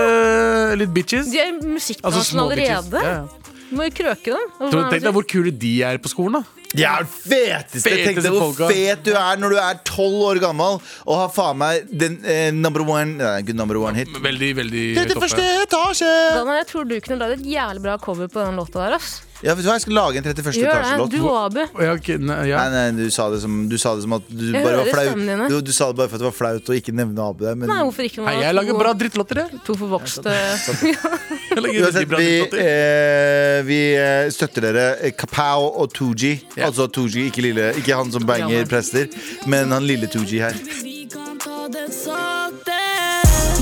D: eh, litt bitches.
C: De er i
D: Altså,
C: musikkbransjen
D: små bitches.
C: allerede.
D: Ja, ja.
C: Du må jo krøke dem.
D: Så Tenk deg hvor kule de er på skolen, da.
B: De er den feteste!
D: Feteste
B: Tenk deg hvor
D: folka.
B: fet du er når du er tolv år gammel og har faen meg den eh, number one Nei, ikke number one hit.
D: Veldig, veldig
B: Trettiførste
D: toppe.
B: etasje!
C: Dana, jeg tror du kunne lagd et jævlig bra cover på den låta der. ass
B: Ja, vet du hva, jeg skal lage en 31.
C: Gjør det.
B: etasje-låt.
C: Du og Abu.
D: Ja, ok, nei, ja.
B: Nei, nei, du sa, det som, du sa det som at du
C: Jeg
B: bare var
C: hører
B: flau.
C: stemmen dine.
B: Du, du sa det bare for at det var flaut å ikke nevne Abu der. Men
C: Nei, hvorfor ikke?
D: Hei, jeg lager bra drittlåter, jeg.
C: To forvokste
D: jeg. lager veldig
B: uansett,
D: bra
B: vi,
D: drittlåter.
B: eh, vi eh, støtter dere. eh, Kapow og Tooji. Altså Tooji, ikke, lille- ikke han som banger prester, men han lille Tooji her.
F: Vi kan ta det sakte.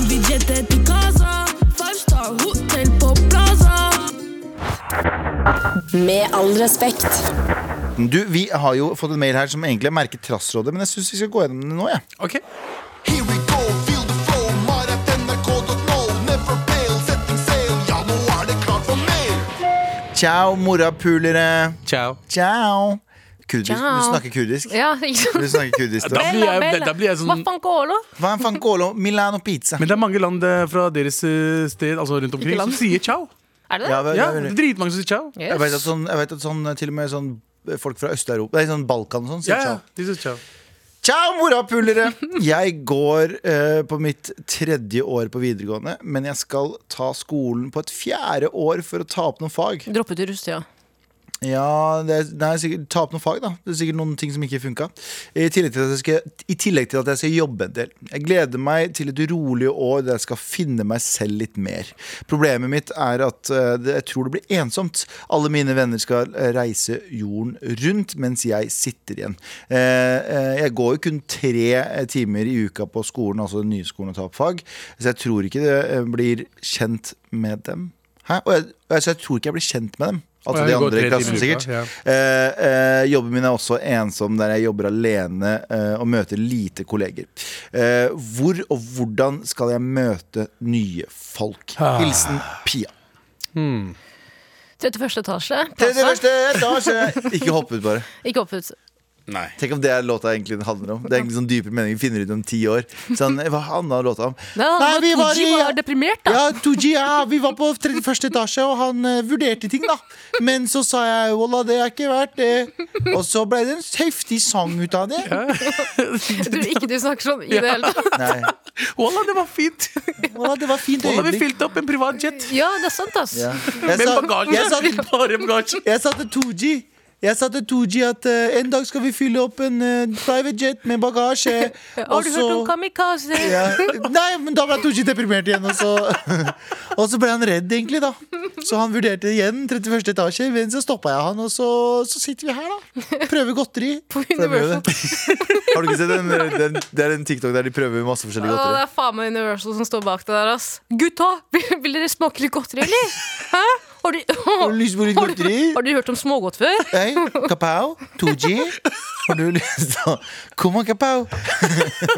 F: Vi jetter til Gaza. Five star hotel på Plaza.
E: Med all respekt.
B: Du, Vi har jo fått en mail her som egentlig er merket Trassrådet, men jeg syns vi skal gå gjennom det nå. Ja.
D: Ok.
G: Here we go, feel the flow, marathon.nrk.no. Never fail, setting sail. Ja, nå er det klart for mer.
B: Ciao, morapulere.
D: Ciao.
B: Ciao. Kurdisk.
C: Ciao.
B: Du snakker kurdisk.
C: Ja, ikke sant?
B: Du snakker kurdisk
D: Da
B: da.
D: blir jeg, da blir jeg
C: Hva
D: sånn
C: faen kålo?
B: Hva en fankolo? Milano pizza.
D: Men det er mange land eh, fra deres eh, sted Altså rundt omkring
C: Ikke land.
D: som sier ciao.
C: Er det
B: Ja,
C: det?
B: hva-
D: Ja,
B: hva-
D: det er Dritmange som sier ciao.
C: Yes.
B: Jeg vet at, sånn, jeg vet at sånn, til og med sånn folk fra Øst-Europa Nei, sånn Balkan og sånn sier
D: Ja, ja,
B: ciao.
D: de sier ciao.
B: Ciao, morapulere! Jeg går eh, på mitt tredje år på videregående, men jeg skal ta skolen på et fjerde år for å ta opp noen fag.
C: Droppet du russetida?
B: Ja, det er, det er sikkert Ta opp noen fag, da. Det er sikkert noen ting som ikke funka. I tillegg til at jeg skal, i tillegg til at jeg skal jobbe en del. Jeg gleder meg til et rolig år der jeg skal finne meg selv litt mer. Problemet mitt er at eh, det, jeg tror det blir ensomt. Alle mine venner skal eh, reise jorden rundt, mens jeg sitter igjen. Eh, eh, jeg går jo kun tre eh, timer i uka på skolen, altså den nye skolen, og tar opp fag, så jeg tror ikke det eh, blir kjent med dem. Hæ? Og jeg, altså, jeg tror ikke jeg blir kjent med dem. Altså
D: Ja,
B: de
D: det går
B: andre i
D: tre
B: klassen,
D: timer i uka,
B: sikkert. Eh, eh, jobben min er også ensom, der jeg jobber alene eh, og møter lite kolleger. Eh, hvor og hvordan skal jeg møte nye folk?
D: Ah.
B: Hilsen Pia.
C: 31. etasje.
B: Tredje
C: Plaza.
B: første etasje! Ikke hopp ut, bare.
C: Ikke opp ut.
B: Tenk om det er låta egentlig den handler om. Det er egentlig sånn dype meninger vi finner ut om ti år. Sånn, hva handla låta om?
C: Nei, vi var, var deprimert, da.
B: Ja, 2G, ja, vi var på 31. etasje, og han eh, vurderte ting, da. Men så sa jeg Walla, det er ikke verdt det. Og så ble det en heftig sang ut av det.
C: Jeg tror ikke du snakker sånn i det hele tatt.
B: Nei,
D: Walla, det var fint!
B: Walla, det var fint
D: Walla, vi
B: øyeblikk.
D: fylte opp en privat jet.
C: Ja, det er sant, ass.
B: Ja. Jeg,
D: Med
B: sa,
D: bagasje.
B: jeg, sa, til-
D: Bare bagasje.
B: jeg sa til 2G jeg sa til 2G at eh, en dag skal vi fylle opp en eh, private jet med bagasje.
C: Har du
B: og
C: hørt om
B: så-
C: kamikaze?
B: ja. Nei, men da ble Tooji deprimert igjen, og så, og så ble han redd, egentlig. da Så han vurderte igjen 31. etasje, men så stoppa jeg han, og så, så sitter vi her, da. Prøver godteri.
C: Universal.
B: Har du ikke sett den, den, det er en TikTok der de prøver masse forskjellige
C: Å, det er faen meg Universal som står bak det der, ass. Gutta, vil, vil dere smake litt godteri, eller? Hæ? Har du,
B: Har du lyst på litt
C: har du,
B: godteri?
C: har du hørt om smågodt før?
B: Hei, Kapau, Tooji. Har du lyst til å Kom an, Kapau.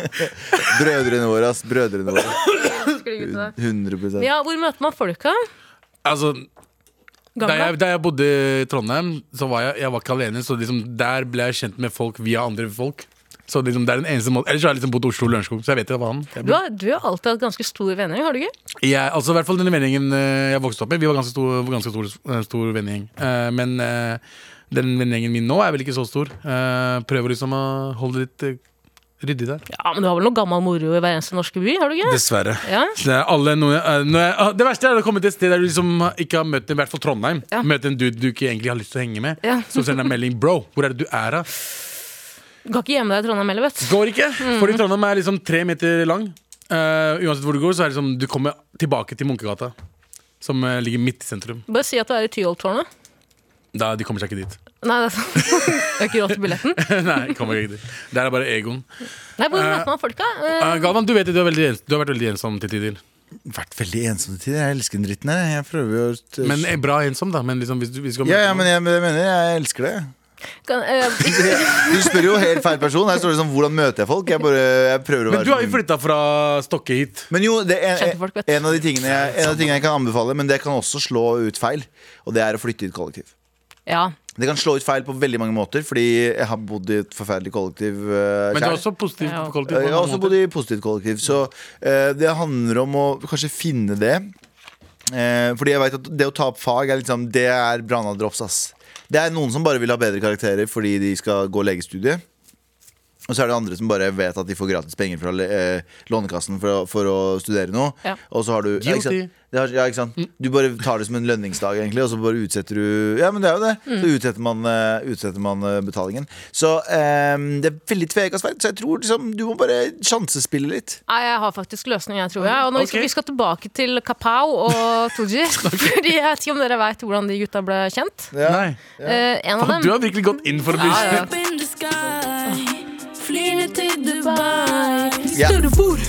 B: Brødrene våre, ass. Brødrene våre.
C: Skulle gutta.
B: 100
C: Ja, hvor møter man folka?
D: Altså, da
C: Gamla?
D: jeg, da jeg bodde i Trondheim, så var jeg, jeg var ikke alene. Så liksom, der ble jeg kjent med folk via andre folk. Så liksom, det er den eneste måten Ellers har jeg liksom bodd i Oslo og Lørenskog, så jeg vet ikke hva han jeg,
C: Du har, du har alltid hatt ganske stor venner, har du ikke?
D: jeg, altså, i hvert fall den vennegjengen eh, jeg vokste opp med, vi var ganske stor, var ganske stor, eh, stor vennegjeng. Eh, men eh, den vennegjengen min nå er vel ikke så stor. Eh, prøver liksom å holde det litt eh, ryddig der.
C: Ja, men du har vel noe gammel moro i hver eneste norske by, har du ikke?
D: Dessverre.
C: Ja.
D: Det, er alle, noe, eh, når jeg, ah, det verste er å komme til et sted der du liksom ikke har møtt en, i hvert fall Trondheim.
C: Ja.
D: Møte en dude du ikke egentlig har lyst til å henge med.
C: Ja.
D: Så sender jeg en melding 'bro, hvor er det du er', da?
C: Du kan ikke gjemme deg i Trondheim heller, vet du.
D: Går ikke,
C: Mm.
D: fordi Trondheim er liksom tre meter lang. Eh, uansett hvor du går, så er det liksom, du kommer tilbake til Munkegata. Som eh, ligger midt i sentrum.
C: Bare si at du er i Tyholttårnet.
D: Da, de kommer seg ikke dit.
C: Nei, det er sant. Du har ikke råd til billetten.
D: Nei, de kommer ikke dit Der er bare Egon.
C: Nei, hvor møter man folka? Eh,
D: Eh, Galvan, du vet det, du, er veldig, ens- du har vært veldig ensom til tider.
B: Vært veldig ensom til tider. Jeg elsker den dritten her. Jeg prøver jo å
D: Men eh, bra ensom, da. Men liksom, hvis du, hvis du skal
B: ja, ja,
D: møte
B: men jeg, men jeg mener jeg elsker det.
C: kan, eh,
B: Du spør jo helt feil person. Her står det sånn 'Hvordan møter jeg folk?' Jeg bare, jeg prøver å
D: noen- men du har
B: være sånn-
D: jo flytta fra Stokke hit.
B: Men jo, det er
C: Kjente folk, vet du.
B: en av de tingene jeg, en av de tingene jeg kan anbefale, men det kan også slå ut feil, og det er å flytte i et kollektiv.
C: Ja.
B: Det kan slå ut feil på veldig mange måter, fordi jeg har bodd i et forferdelig kollektiv. eh,
D: Men det er
B: selv.
D: også positivt.
C: Ja.
D: på kollektiv på
B: Jeg har
D: mange
B: også
D: måter.
B: bodd i positivt kollektiv, så eh, det handler om å kanskje finne det. Eh, fordi jeg vet at det å ta opp fag er liksom, det er Brana drops, ass. Det er noen som bare vil ha bedre karakterer fordi de skal gå legestudiet. Og så er det andre som bare vet at de får gratis penger fra eh, Lånekassen for å, for å studere noe.
C: Ja.
B: Og så har du ja, ikke
D: Guilty.
B: sant? Det har, ja, ikke sant? Du bare tar det som en lønningsdag, egentlig, og så bare utsetter du Ja, men det er jo det. Så utsetter man, eh, utsetter man eh, betalingen. Så eh, det er veldig tvega sverd, så jeg tror liksom, du må bare sjansespille litt.
C: Nei, jeg har faktisk løsning, jeg tror jeg. Og nå vi skal,
D: Ok.
C: vi skal tilbake til Kapow og Tooji. fordi jeg vet ikke om dere veit hvordan de gutta ble kjent.
D: Nei.
C: Eh, en av
D: Faen, du
C: dem
D: har virkelig gått inn for å bli
C: Ja, ja.
F: Up in the sky Flyr ned til Dubai
B: Ja.
F: Spør hvor,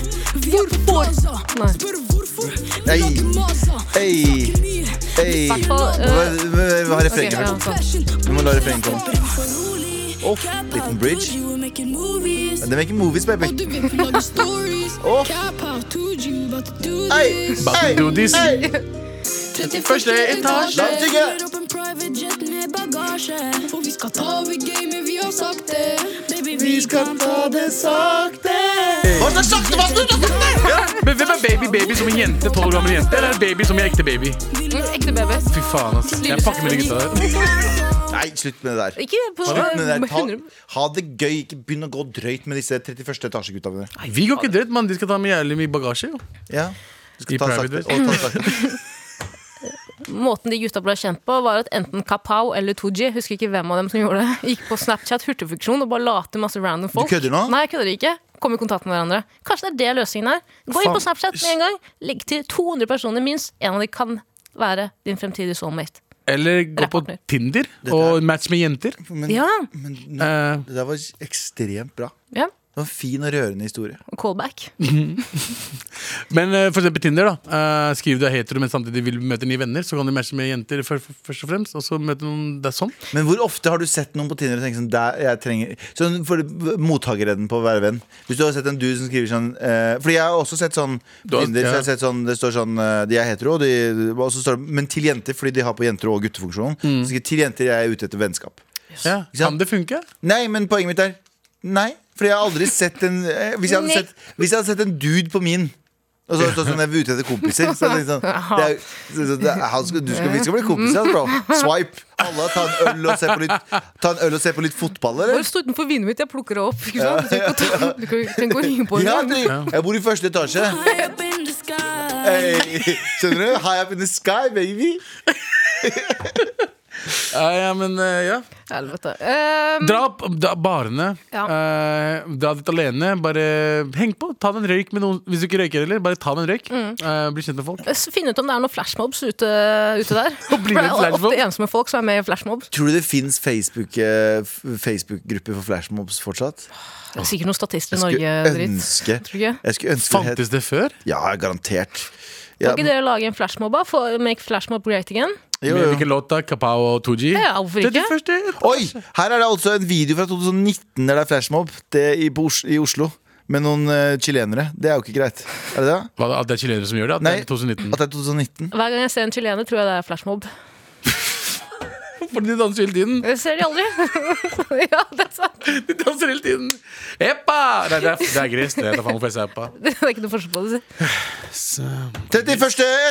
F: hvorfor
C: Nei.
F: Spør hvorfor Vi
B: Ei.
F: lager maser
B: Ei, ei.
C: I hvert fall, eh,
B: Hva, hva, hva har
C: ok,
B: refrenget
C: ja,
B: først?
C: sånn.
B: Vi må la refrenget komme.
F: Oh,
B: liten bridge. Det er ikke movies, baby.
F: Og du vet vi lager stories
B: Åh.
F: Cap out told you about to do
B: Ei,
F: this
D: Hey, do this.
F: Første etasje
B: La oss synge.
F: Fyller opp en private jet med bagasje For vi skal ta over gamet, vi har sagt det Baby, vi kan ta det sakte
B: Hva slags sakte, hva slags sakte?
D: Men hvem er baby baby som en jente? 12 år gammel jente? Eller er baby som en ekte baby?
C: Mm, Ekte baby.
D: Fy faen, ass. Jeg fucker med de gutta der.
B: Nei, slutt med det der.
C: Ikke på
B: Slutt med det der. Ta,
C: 100
B: ha det gøy. Ikke begynn å gå drøyt med disse 31. etasjegutta mine.
D: Vi går ikke drøyt, mann. De skal ta med jævlig mye bagasje. Jo.
B: Ja. Du
D: I
B: skal ta det sakte.
D: private
B: Og ta det sakte.
C: Måten de gutta ble kjent på, var at enten Kapow eller Tooji, husker ikke hvem av dem som gjorde det, gikk på Snapchat hurtigfunksjon og bare la til masse random folk.
B: Du kødder nå?
C: Nei, jeg kødder ikke. Kom i kontakt med hverandre. Kanskje det er det løsningen her. Gå inn på
B: Faen.
C: Snapchat med en gang. Legg til 200 personer minst. En av de kan være din fremtidige soulmate.
D: Eller gå på
C: Rapporter.
D: Tinder og match med jenter.
B: Men,
C: Ja.
B: men nå,
D: Eh,
B: det der var ekstremt bra.
C: ja.
B: Det var en fin og rørende historie.
C: Callback.
D: men eh, for eksempel Tinder, da. Eh, skriv du er hetero, men samtidig vil møte nye venner. Så kan du matche med jenter før- først og fremst. Og så møte noen Det er sånn.
B: Men hvor ofte har du sett noen på Tinder og tenkt sånn der, jeg trenger Sånn for mottakerredden på å være venn. Hvis du har sett en dude som skriver sånn eh, Fordi jeg har også sett sånn
D: Du
B: på
D: har-
B: Tinder. Så jeg
D: ja.
B: har sett sånn, det står sånn eh, De er hetero, og de, og så står det Men til jenter, fordi de har på jenter og guttefunksjonen.
D: Mm.
B: Så skriver de, til jenter jeg er ute etter vennskap. Ikke
D: Ja.
B: sant?
D: Kan det funke?
B: Nei, men poenget mitt er Nei, fordi jeg har aldri sett en eh, Hvis jeg hadde
C: Nei.
B: sett, hvis jeg hadde sett en dude på min og så så sånn jeg var ute etter kompiser. Så jeg tenkte sånn, det er, så, så, det er, han skal, du skal, vi skal bli kompiser, altså, bro. Swipe. Alle ta en øl og se på litt, ta en øl og se på litt fotball, eller?
C: Bare stå utenfor vinduet mitt, jeg plukker det opp. Ikke sant? Du trenger ikke å ta- Du kan- trenger ikke å ringe på
B: Ja,
C: engang.
B: dri- jeg bor i første etasje.
F: Up in the sky
B: Hey, skjønner du? High up in the sky, baby.
D: Ja, ja, men eh, ja.
C: Helvete. Um,
D: Dra opp dra, barene.
C: Ja.
D: Eh, dra dit alene. Bare heng på. Ta deg en røyk med noen. Hvis du ikke røyker heller, bare ta deg en røyk. Eh, bli kjent med folk.
C: s- Finn ut om det er noen flashmobs ute, ute der. For
D: blir
C: det
D: det
C: er
D: flashmob?
C: ofte ensomme folk som er med i flashmobs.
B: Tror du det fins Facebook-grupper for flashmobs fortsatt?
C: Det er Sikkert noen statister i Norge.
B: Skulle
C: dritt
B: ønske
C: Tror du ikke?
B: Jeg skulle ønske det het
D: Fantes det før?
B: Ja, garantert.
C: Kan
B: Ja,
C: ikke dere lage en flashmob, da? For- Make flashmob great again?
B: jo,
D: Med
B: jo.
D: hvilken låt da? Kapow og 2G?
C: Ja, hvorfor
D: Det er
C: ikke?
D: det første.
B: Oi! Her er det altså en video fra 2019 der det er flashmob det i, på Os i Oslo. Med noen eh, chilenere. Det er jo ikke greit. Er det det?
D: Hva, da, at det er chilenere som gjør det? At
B: Nei,
D: det er
B: at
D: 2019?
B: det er 2019.
C: Hver gang jeg ser en chilener, tror jeg det er flashmob.
D: Fordi de danser hele tiden.
C: Jeg ser de aldri. ja, det er sant.
D: De danser hele tiden. Eppa! Nei, det er, det er gresk. Det er faen hvorfor jeg sa eppa.
C: Det er ikke noe forskjell på det.
B: 31.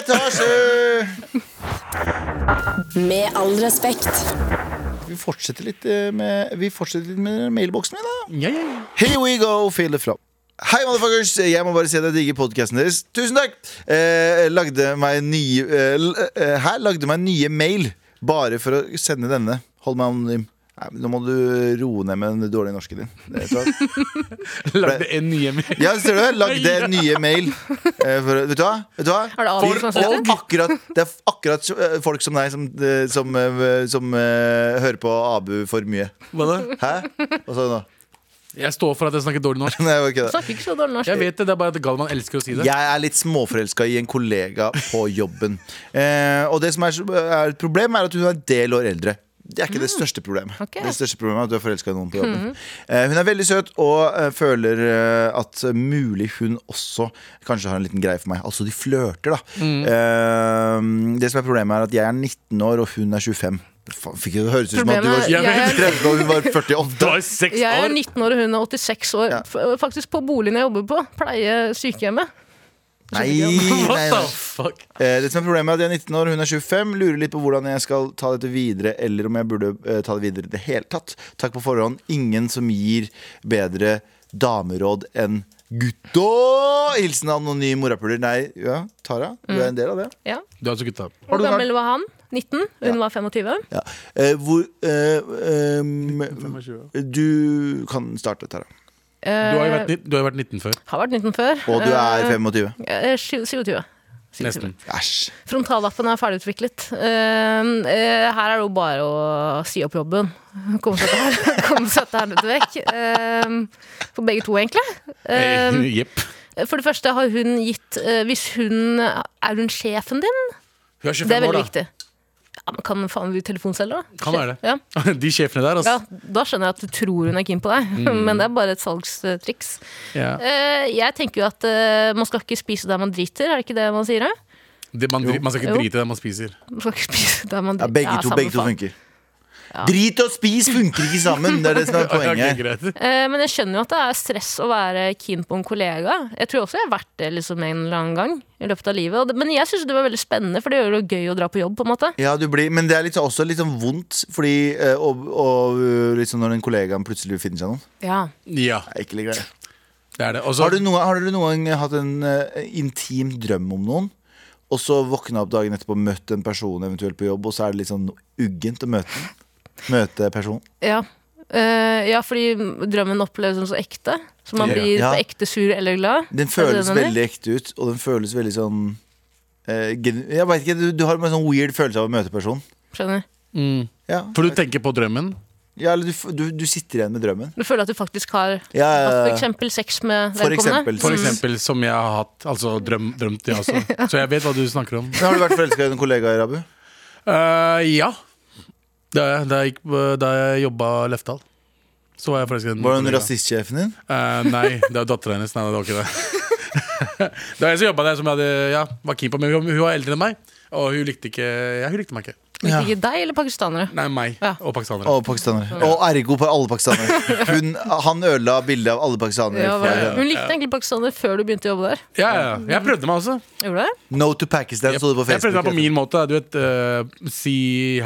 B: etasje!
E: Med all respekt.
B: Vi fortsetter litt eh, med, vi fortsetter litt med mailboksen min, da.
D: Ja, ja, ja.
B: Here we go, feel it from. Hei, motherfuckers! Jeg må bare si at jeg digger podkasten deres. Tusen takk! Eh, lagde meg nye eh, l- eh, Her lagde meg nye mail bare for å sende denne. Hold meg anonym. Nei, men nå må du roe ned med den dårlige norsken din. Det tror jeg.
D: Lagde en ny hjemme.
B: Ja, ser du? Lagde nye mail. eh, For, vet du hva? Vet du hva?
C: Er det Abu
B: Folk,
C: som har sendt
B: og akkurat, det er akkurat så- eh, folk som deg som, eh, som, eh, som eh, hører på Abu for mye.
D: Hva da?
B: Hæ? Hva sa du nå?
D: Jeg står for at jeg snakker dårlig norsk.
B: Nei, jeg bare
C: Du
B: kødder.
C: snakker ikke så dårlig norsk.
D: Jeg vet det, det er bare at Galvan elsker å si det.
B: Jeg er litt småforelska i en kollega på jobben. Eh, og det som er, er et problem, er at hun er en del år eldre. Det er ikke det største problemet.
C: Ok.
B: Det største problemet er at du er forelska i noen på jobben. Eh, hun er veldig søt og eh, føler eh, at mulig hun også kanskje har en liten greie for meg. Altså, de flørter, da. Eh, det som er problemet, er at jeg er 19 år, og hun er 25. Faen, fikk jeg- Det høres ut som at du var
C: Problemet-
D: Jeg er-
B: 30 og hun var 48.
D: var seks
C: Jeg er
D: år!
C: 19 år, og hun er 86 år. F faktisk på boligen jeg jobber på. Pleie sykehjemmet.
B: Nei, nei,
D: What
B: nei.
D: the fuck?
B: Eh, Det som er problemet er at jeg er 19 år, hun er 25 Lurer litt på hvordan jeg skal ta dette videre Eller om jeg burde eh, ta det videre i det hele tatt Takk på forhånd Ingen som gir bedre dameråd enn gutta Hilsen anonym morapuler Nei, ja, Tara, du
C: Mm.
B: er en del av det
C: Ja.
D: Du er altså gutta.
B: Har
C: Hvor
B: du
C: gammel var han? 19? Hun var 25?
B: ja. eh, Hvor eh, ehm, Du kan starte, Tara
D: Du har jo vært, nitt- du har jo vært 19 før.
C: Eh, Har vært 19 før.
B: Og du er 25
C: Eh, eh, 27. 27.
D: Nesten.
B: Æsj
C: Frontallappen er ferdigutviklet. Eh, eh, her er det jo bare å si opp jobben. Komme seg der, komme seg der litt vekk. Eh, for begge to, egentlig. Eh,
D: Eh, Jepp.
C: for det første har hun gitt eh, Hvis hun Er hun sjefen din?
D: Hun er
C: Det er
D: 25 år,
C: veldig
D: da.
C: viktig. Ja, men kan faen bli telefonselger, da?
D: Kan være det.
C: Ja.
D: De sjefene der,
C: Ja,
D: altså.
C: da skjønner jeg at du tror hun er keen på deg,
D: Mm.
C: men det er bare et salgstriks.
D: Ja.
C: Eh, jeg tenker jo at eh, man skal ikke spise der man driter, er det ikke det man sier? eh?
D: Det, man, dri- man skal ikke
C: Jo.
D: drite i det man spiser.
C: Man skal ikke spise der man
B: ja,
C: driter.
B: Begge to,
C: samme
B: begge to
C: faen.
B: funker Drit og spis funker ikke sammen Det er det som er
D: Ok,
B: poenget
D: greit.
C: Eh, men jeg skjønner jo at det er stress å være keen på en kollega. Jeg tror også jeg har vært det liksom, en eller annen gang i løpet av livet. Og det, men jeg syns det var veldig spennende, for det gjør det jo gøy å dra på jobb, på en måte.
B: Ja, du blir, men det er litt, også litt sånn vondt Fordi eh, og, og, eh, liksom når en kollega plutselig finner seg noen
C: Ja.
D: Ja,
B: Det er ikke like greit.
D: det er det. Og så-
B: Har du noe- har dere noen gang hatt en eh, intim drøm om noen? Og så våkna opp dagen etterpå, møtt en person eventuelt på jobb Og så er det litt sånn uggent å møte den Møte personen
C: Ja. Eh, ja, fordi drømmen oppleves som så ekte. Så man
D: Ja.
C: blir
B: Ja.
C: på ekte sur eller glad.
B: Den
C: Er det det
B: føles
C: du mener?
B: veldig ekte ut Og den føles veldig sånn eh, gen- Jeg vet ikke, du, du har en sånn weird følelse av å møte personen
C: Skjønner.
D: mm.
B: Ja,
D: For du tenker på drømmen?
B: ja eller du, f- du, du sitter igjen med drømmen
C: Du føler at du faktisk har hatt
B: ja, ja,
C: for
B: ja.
C: eksempel sex med
B: For
C: vedkommende.
B: eksempel.
D: For
B: Mm.
D: eksempel som jeg har hatt. Altså drøm, drømt, jeg også. Så jeg vet hva du snakker om.
B: Men Har du vært forelsket i en kollega, Rabu?
D: Eh, ja. Da jeg, da jeg, gikk- eh, da jeg jobba Lefdal, så var jeg forelsket i en
B: Var det
D: kollega.
B: en rasistsjefen din?
D: Eh, nei, det var dattera hennes. Nei, det var ikke det. det var jeg som jobba der, som jeg hadde, ja, var keen på. Men hun, hun var eldre enn meg, og hun likte ikke ja, hun likte meg ikke.
C: Likte ikke deg eller pakistanere.
D: Nei, meg
C: Ja.
D: og pakistanere.
B: Og pakistanere. Og ergo på alle pakistanere. Hun, han ødela bildet av alle pakistanere.
C: Ja, hva-
B: for-
C: Hun likte egentlig pakistanere før du begynte å jobbe der.
D: Ja, ja, ja. Jeg prøvde meg også.
C: Gjorde du det?
B: No to Pakistan,
D: Jeg,
B: så du på
D: jeg prøvde
B: Facebook.
D: meg på min måte. Du vet, eh, Si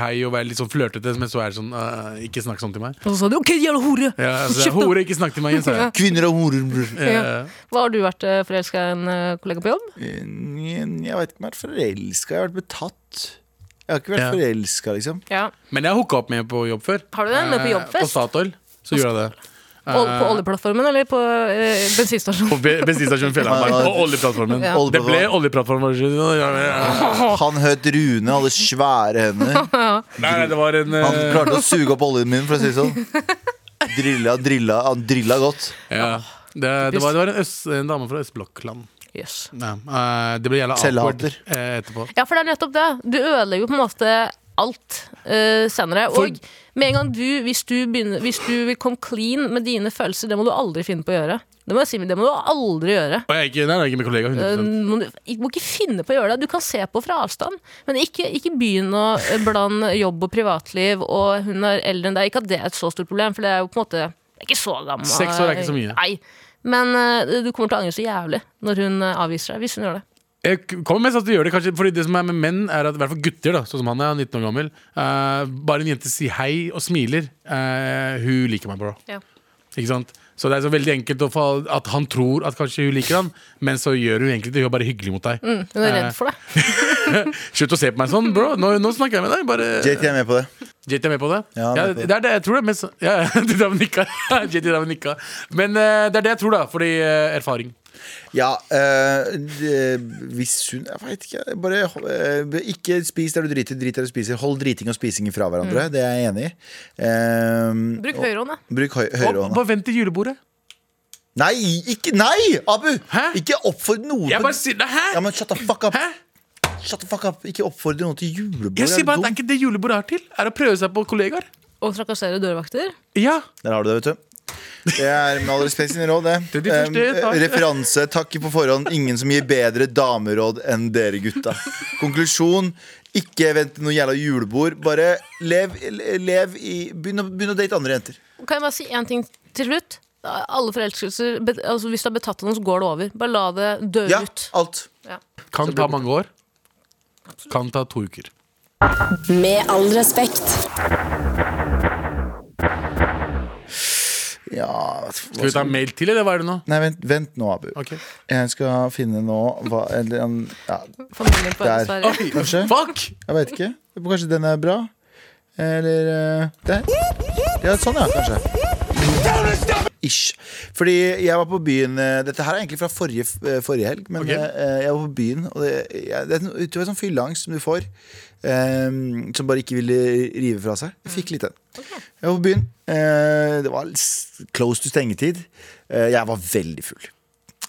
D: hei og være litt sånn flørtete, men så er det sånn eh, Ikke snakk sånn til meg.
C: Og så sa du 'ok, jævla hore'!
D: Ja, altså,
C: Kjeft, da!
D: Hore, ikke snakk til meg igjen, sa jeg.
B: altså. Kvinner og horer. bror.
D: Eh,
C: Hva har du vært eh, forelska i en eh, kollega på jobb?
B: Jeg vet ikke om jeg har vært forelska. Jeg har vært betatt. Jeg har ikke vært
D: Ja.
B: forelska, liksom.
C: Ja.
D: Men jeg hooka opp med på jobb før.
C: Har du det? Med på
D: Eh,
C: jobbfest?
D: På Statoil. Så gjorde jeg det.
C: På,
D: Eh.
C: på oljeplattformen eller på eh, bensinstasjonen?
D: På be- bensinstasjonen Fjellhamar. På oljeplattformen.
B: Ja.
D: Det ble oljeplattformen.
B: Han het Rune, hadde svære hender.
D: Nei, det var en
B: Han
D: eh,
B: klarte å suge opp oljen min, for å si det sånn. Drilla, drilla, han drilla godt.
D: ja. det, det, var, det var en, øst, en dame fra østblokkland.
C: Yes.
D: Ja. eh, det ble jævla awkward
B: Selvhater.
D: eh, etterpå.
C: Ja, for det er nettopp det. Du ødelegger jo på en måte alt eh, senere.
D: For-
C: Og med en gang du hvis du, begynner, hvis du vil komme clean med dine følelser, det må du aldri finne på å gjøre. Det må jeg si, det må du aldri gjøre.
D: Og jeg er ikke, nei, det er ikke min kollega.
C: Eh,
D: 100
C: må du ikke- må ikke finne på å gjøre det. Du kan se på fra avstand, men ikke, ikke begynn å eh, blande jobb og privatliv og hun er eldre enn deg. Ikke at det er et så stort problem, for det er jo på en måte det er ikke så gammel.
D: Seks år er ikke så mye.
C: Nei. Men eh, du kommer til å angre så jævlig når hun eh, avviser deg, hvis hun gjør det.
D: Jeg kommer mest at du gjør det kanskje Fordi det som er med menn, er at i hvert fall gutter, da sånn som han er, han er 19 år gammel eh, Bare en jente sier hei og smiler, eh, hun liker meg, bro.
C: Ja.
D: Ikke sant? Så det er så veldig enkelt å få, at han tror at kanskje hun liker han, men så gjør hun egentlig det. Hun er bare hyggelig mot deg.
C: Hun er
D: Eh,
C: redd for deg.
D: Slutt å se på meg sånn, bro. Nå, nå snakker jeg med deg. Bare
B: JT er med på det.
D: JT er med på det?
B: Ja, han er med på det.
D: det er det jeg tror. Det, er mest- ja, ja, du drev og nikka. JT drev og nikka. Men eh, det er det jeg tror, da. Fordi eh, erfaring.
B: Ja, eh, det, hvis hun Jeg veit ikke. jeg Bare eh, ikke spis der du driter, drit der du spiser. Hold driting og spising fra
D: Mm.
B: hverandre. Det er jeg enig i. Eh,
C: Bruk
B: og-
C: høyrehånd, da.
B: Bruk høy,
D: Og
B: høyrehånda.
D: bare vent til julebordet.
B: Nei, ikke, nei, Abu!
D: Hæ?
B: Ikke oppfordre noen
D: Jeg
B: til-
D: bare sier det
B: ja,
D: her!
B: men Shut the fuck up!
D: Hæ?
B: Shut the fuck up. Ikke oppfordre noen til julebord.
D: Jeg
B: er
D: sier
B: du
D: bare at
B: dum?
D: det er ikke det julebordet er til. Er å prøve seg på kollegaer.
C: Og trakassere dørvakter.
D: Ja.
B: Der har du det, vet du. Det er med all respekt sine råd, det.
D: Det er de første,
B: Eh,
D: takk.
B: referanse, takk på forhånd. Ingen som gir bedre dameråd enn dere gutta. Konklusjon. Ikke vent til noe jævla julebord. Bare lev, lev i Begynn å, begynn å date andre jenter.
C: Kan jeg bare si én ting til slutt? Alle forelskelser be- altså Hvis du har betatt av noen, så går det over. Bare la det dø
B: Ja,
C: ut.
B: alt.
D: Kan ta mange år. Kan ta to uker.
E: Med all respekt.
B: Ja
D: Skal vi ta en mail til, eller hva er det nå?
B: Nei, vent, vent nå, Abu.
D: Ok.
B: Jeg skal finne nå hva eller, en- ja,
C: Familien på
B: Der.
C: Sverige.
D: Oi,
B: Kanskje?
D: Fuck!
B: Jeg vet ikke. Kanskje den er bra? Eller eh, der. Ja, sånn, ja, kanskje. Ish. Fordi jeg var på byen eh, Dette her er egentlig fra forrige, eh, forrige helg, men
D: Ok.
B: eh, jeg var på byen, og det, jeg, det er en utover sånn fylleangst som du får, eh, som bare ikke ville rive fra seg. Jeg fikk litt den. Jeg var på byen. eh, det var s- close to stengetid. Eh, jeg var veldig full.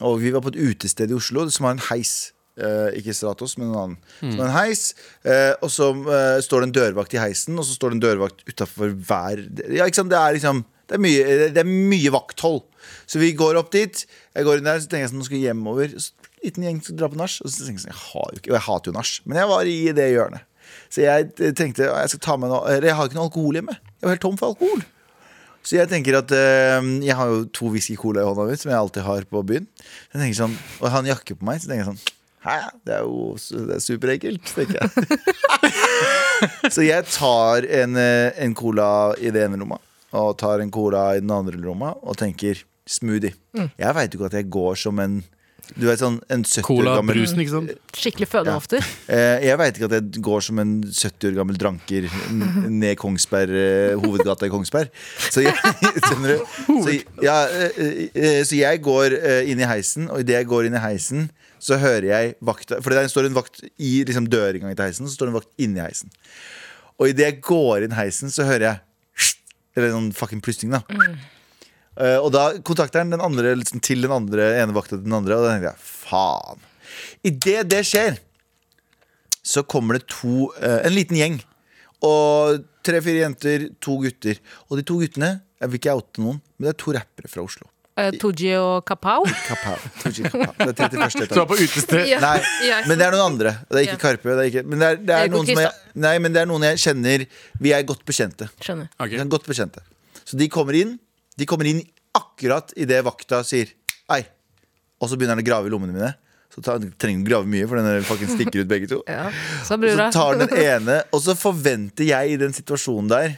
B: Og vi var på et utested i Oslo som har en heis. Eh, ikke Stratos, men en annen. Som har en heis, eh, og så eh, står det en dørvakt i heisen, og så står det en dørvakt utafor hver Ja, ikke sant, det er liksom det er, mye, det er mye vakthold. Så vi går opp dit. Jeg går inn der, så tenker jeg sånn, nå skal jeg hjemover. Så, liten gjeng skal dra på nach. Og så tenker jeg sånn, jeg har jo ikke Og jeg hater jo nach, men jeg var i det hjørnet. Så jeg eh, tenkte jeg skal ta med noe Eller jeg har ikke noe alkohol hjemme. Jeg var helt tom for alkohol. Så jeg tenker at eh, Jeg har jo to whisky cola i hånda mi, som jeg alltid har på byen. Så jeg tenker sånn, Og jeg har en jakke på meg, så tenker jeg sånn Hæ, det er jo su- det er superekkelt, tenker jeg. så jeg tar en, eh, en cola i det ene rommet, og tar en cola i den andre rommet, og tenker smoothie. Jeg veit jo ikke at jeg går som en Du vet sånn en 70 år
D: Cola,
B: gammel
D: brusen, ikke sant?
C: Skikkelig fødehofter.
B: Eh, Jeg veit ikke at jeg går som en 70 år gammel dranker n- ned Kongsberg, eh, hovedgata i Kongsberg. Så jeg, skjønner du? Så, ja, eh, eh, så jeg går eh, inn i heisen, og idet jeg går inn i heisen, så hører jeg vakta For der står en vakt i liksom, dørinngangen til heisen, så står det en vakt inni heisen. Og idet jeg går inn heisen, så hører jeg Eller sånn fucking plystring, da. Eh, og da kontakter han den andre liksom, til den andre ene vakta til den andre, og da tenker jeg faen. Idet det skjer så kommer det to eh, En liten gjeng. Og tre-fire jenter, to gutter. Og de to guttene jeg vil ikke oute noen, men det er to rappere fra Oslo.
C: Eh, Tooji og Kapow.
B: Kapow, Tooji Kapow. Det er 31.
D: Du er
B: etasje.
D: på utested.
C: Ja.
B: Nei,
C: Ja.
B: men det er noen andre. Det er ikke Karpe. Det er ikke, men det er, det er
C: Erik og
B: noen som jeg, nei, men det er noen jeg kjenner. Vi er godt bekjente.
C: Skjønner.
D: Ok.
B: Vi er godt bekjente. Så de kommer inn. De kommer inn akkurat idet vakta sier ei. Og så begynner han å grave i lommene mine. Så tar, trenger du grave mye, for den der fucking stikker ut begge to.
C: Ja. Så
B: Og
C: brura.
B: Så tar den ene, og så forventer jeg i den situasjonen der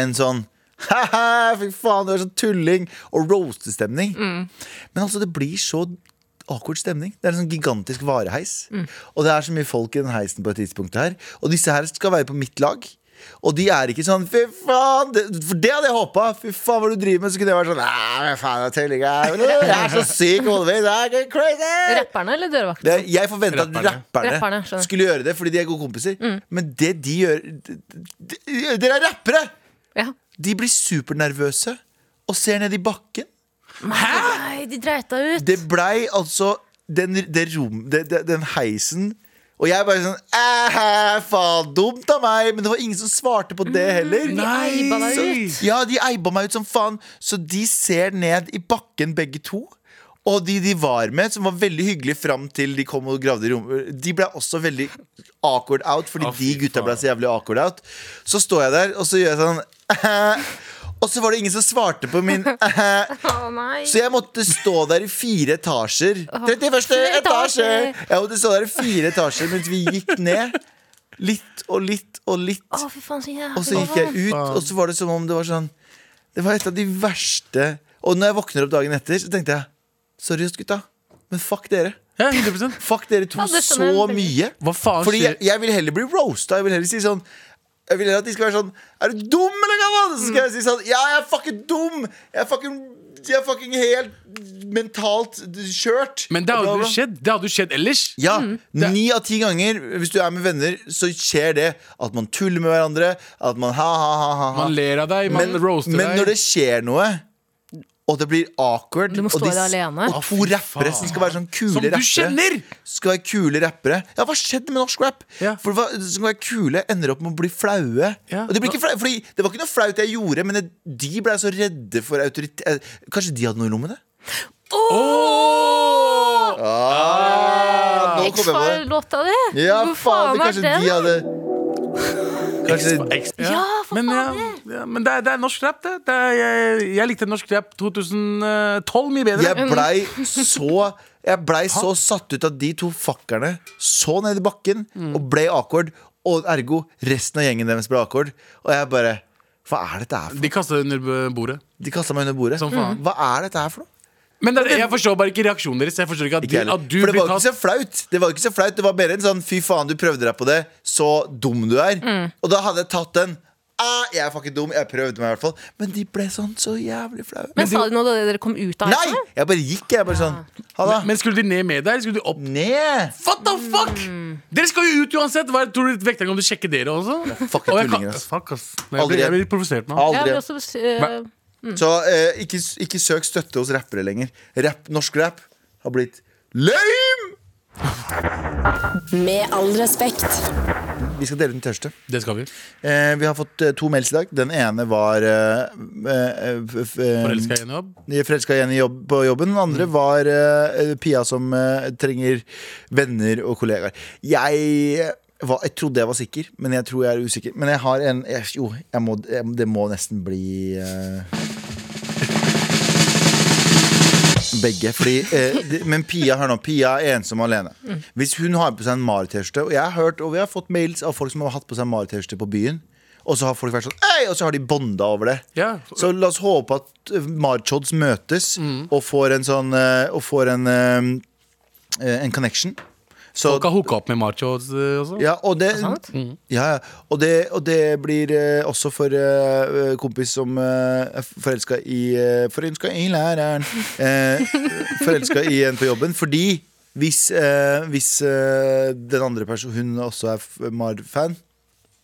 B: en sånn Haha, fy faen, du er sånn tulling! Og roastestemning. Men altså, det blir så awkward stemning. Det er en sånn gigantisk vareheis. Og det er så mye folk i den heisen på et tidspunkt her. Og disse her skal være på mitt lag. Og de er ikke sånn 'fy faen', det- for det hadde jeg håpa. Fy faen, hva du driver med. Så kunne jeg vært sånn «Nei, hva faen, jeg tulling, jeg Jeg er så syk i hodet mitt, jeg er crazy!
C: Rapperne eller dørvakten?
B: Det, er- jeg forventa at
D: Rapperne.
B: rapperne,
C: Rapperne, skjønner. Mm.
B: skulle gjøre det fordi de er gode kompiser. Men det de gjør d- d- Dere er rappere!
C: Ja.
B: De blir supernervøse og ser ned i bakken.
C: Nei, de dreita ut.
B: Det blei altså den, det rom, det, det, den heisen og jeg bare sånn Æh, faen, dumt av meg! Men det var ingen som svarte på
C: Mm.
B: det heller.
C: eiba deg
D: Nice.
B: Ja, de eiba meg ut som faen. Så de ser ned i bakken, begge to. Og de de var med, som var veldig hyggelige fram til de kom og gravde i rommet, de ble også veldig awkward out, fordi
D: Å, fy
B: de gutta ble
D: faen.
B: så jævlig awkward out. Så står jeg der, og så gjør jeg sånn Og så var det ingen som svarte på min
C: Å, nei.
B: Så jeg måtte stå der i fire etasjer. 31. etasje! Jeg måtte stå der i fire etasjer mens vi gikk ned. Litt og litt og litt.
C: Å, fy faen, så
B: Og så
C: jævlig.
B: gikk jeg ut, og så var det som om det var sånn Det var et av de verste Og når jeg våkner opp dagen etter, så tenkte jeg Sorry, gutta, men fuck dere.
D: Ja, 100
B: Fuck dere to
C: Ja, det skjønner
B: så
C: jeg veldig.
B: mye.
D: Hva faen
B: Fordi jeg,
D: skjer?
B: jeg vil heller bli roasta. Jeg vil heller si sånn jeg vil heller at de skal være sånn Er du dum, eller, gammel? Så skal jeg si sånn Ja, jeg er fucking dum! Jeg er fucking, jeg er fucking helt mentalt kjørt.
D: Men
B: Og
D: det Mm. hadde
B: bla,
D: jo
B: bla.
D: skjedd. Det hadde jo skjedd ellers.
B: Ja, Ni av ti ganger hvis du er med venner, så skjer det at man tuller med hverandre. At man ha, ha, ha, ha, ha.
D: Man ler av deg, man roaster
B: men
D: deg.
B: når det skjer noe og det blir awkward.
C: Du må stå
B: og
C: i det alene.
B: Og to rappere som skal være sånn kule
D: Som du
B: rappere.
D: kjenner!
B: Skal være kule rappere. Ja, hva skjedde med norsk rap?
D: Ja.
B: For hva, de som skal være kule, ender opp med å bli flaue.
D: Ja.
B: Og det, blir ikke flau, fordi det var ikke noe flaut jeg gjorde, men det, de ble så redde for autoritet Eh, Kanskje de hadde noe i lommene?
D: Åh!
B: Ah, nå kom jeg på det.
C: X-File-låta di!
B: Ja, faen,
C: Hvor faen er
B: kanskje
C: den?
B: de hadde Kanskje
C: Ja, for
D: Men, ja, ja, men det, er, det er norsk rap, det. det er, jeg, jeg likte norsk rap 2012 mye bedre.
B: Jeg blei så Jeg blei så satt ut av de to fuckerne så ned i bakken
D: Mm.
B: og ble akkord. Og ergo resten av gjengen deres ble akkord. Og jeg bare Hva er dette her for
D: De kasta det under bordet.
B: De kasta meg under bordet.
D: Som faen.
B: Hva er dette her for noe?
D: Men det, er- jeg forstår bare ikke reaksjonen deres. Jeg forstår ikke at,
B: Ikke
D: de,
B: heller.
D: at du
B: For det var
D: blir
B: jo ikke
D: tatt
B: så flaut. Det var jo ikke så flaut Det var mer en sånn fy faen, du prøvde deg på det, så dum du er.
D: Mm.
B: Og da hadde jeg tatt den. Ah, jeg er fucking dum. Jeg prøvde meg i hvert fall. Men de ble sånn så jævlig flaue.
C: Men sa de noe da dere kom ut av liksom?
B: Nei!
C: X-File?
B: Jeg bare gikk, jeg. Bare sånn. Ha det.
D: Men skulle de ned med deg, eller skulle de opp?
B: Ned!
D: What the fuck?! Dere skal jo ut uansett! Hva, tror du vekterne kommer til å sjekke dere også?
B: Fucka
D: Og jeg
B: tullinger,
D: kan-
B: ass.
D: Fuck, ass. Nei,
B: altså.
D: Jeg
B: Aldri
D: blir, jeg
B: igjen.
D: blir provosert nå.
C: Jeg
B: Aldri.
C: vil også eh,
D: Hva?
B: Så eh, ikke, ikke søk støtte hos rappere lenger. Rapp, norsk rap har blitt lame!
E: Med all respekt.
B: Vi skal dele den tørste.
D: Det skal vi.
B: Eh, vi har fått eh, to mails i dag. Den ene var uh,
D: Forelska i en jobb.
B: Forelska igjen eh, i jobb, på jobben. Den andre var eh, Pia som eh, trenger venner og kollegaer. Jeg, eh, var, jeg trodde jeg var sikker, men jeg tror jeg er usikker. Men jeg har en jeg, Jo, jeg må, jeg, det må nesten bli eh, Begge. Fordi, eh, det- men Pia hør nå, Pia er ensom og alene. Hvis hun har på seg en Mari-T-skjorte Og jeg har hørt, og vi har fått mails av folk som har hatt på seg en Mari-T-skjorte på byen. Og så har folk vært sånn Ei! Og så har de bonda over det.
D: Ja.
B: Så la oss håpe at eh, Marchods møtes
D: Mm.
B: og får en sånn eh, Og får en, eh, eh, en connection. Så,
D: Folk har hooka opp med macho eh, også.
B: ja, og det,
C: sant?
B: ja, ja. Og, det, og det blir eh, også for eh, kompis som eh, er forelska i eh, Forelska i læreren. Eh, forelska i en på jobben. Fordi hvis, eh, hvis eh, den andre personen Hun også er f- Mar-fan.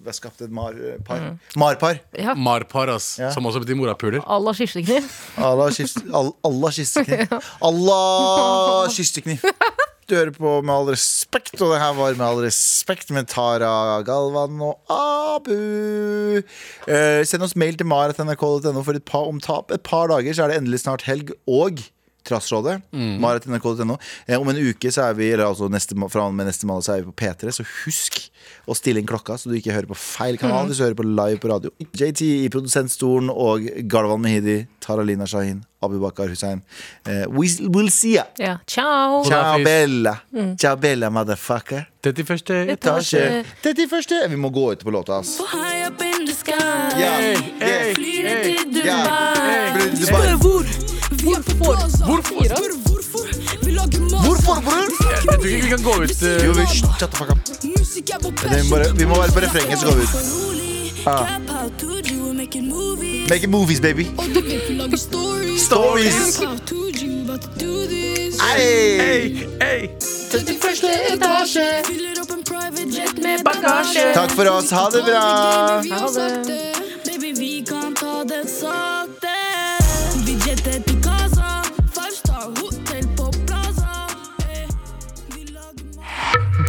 B: Vi har skapt et Mar-par. Mar-par.
C: Ja.
D: Marpar, ass.
B: Ja.
D: Som også betyr morapuler.
C: à la kislekniv.
B: Allah kyss- all- Allah kyssekniv. Allah kyssekniv. Du hører på Med all respekt, og det her var Med all respekt med Tara Galvan og Abu. Eh, send oss mail til maratnrk.no for et par, om tap, et par dager så er det endelig snart helg. Og Trassrådet. maratnrk.no. Eh, om en uke, så er vi, eller altså neste, ma- fra og med neste mandag, så er vi på P3, så husk å stille inn klokka, så du ikke hører på feil kanal hvis du hører på live på radio. JT i produsentstolen og Galvan Mehidi, Taralina Shahin, Abu Bakar Hussein. Eh, we will see ya.
C: Ja. Ciao!
B: Ciao,
D: Hafiz.
B: Bella.
F: Mm.
B: Ciao, Bella, motherfucker.
D: 31.
B: Etasje. Dette er første. Vi må gå ut på låta, ass.
F: High up in the sky.
B: Ja,
D: Hey, hey,
F: Flyr
D: hey.
F: til Dubai.
B: Dubai.
F: Hvor? Hvorfor? Hvorfor? Hvorfor? Vi lager mat.
B: Hvorfor, bror?
D: Jeg tror ikke vi kan gå ut eh,
B: Jo, vi, shut the fuck up.
F: Musikk er vår
B: det må bare- vi må være på refrenget, så går vi ut. Ah.
F: Cap out, dude, you will make a movie.
B: Make it movies, baby.
F: Og du vil ikke lage stories.
B: Stories.
F: Cap out, dude, you about to do this.
B: Hey.
F: Fyller opp en private jet med bagasje.
B: Takk for oss. Ha det bra.
F: Ha det. Baby, vi kan ta det sakte. Vi jetter til Gaza. Five star hotel på Plaza. Eh, vi lager mat.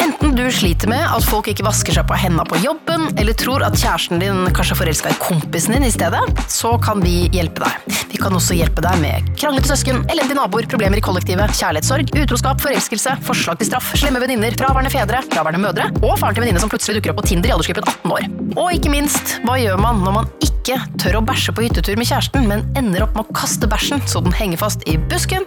H: Enten du sliter med at folk ikke vasker seg på hendene på jobben, eller tror at kjæresten din kanskje er forelska i kompisen din i stedet, så kan vi hjelpe deg. Vi kan også hjelpe deg med kranglete søsken, elendige naboer, problemer i kollektivet, kjærlighetssorg, utroskap, forelskelse, forslag til straff, slemme venninner, fraværende fedre, fraværende mødre og faren til venninne som plutselig dukker opp på Tinder i aldersgruppen 18 år. Og ikke minst, hva gjør man når man ikke tør å bæsje på hyttetur med kjæresten, men ender opp med å kaste bæsjen så den henger fast i busken?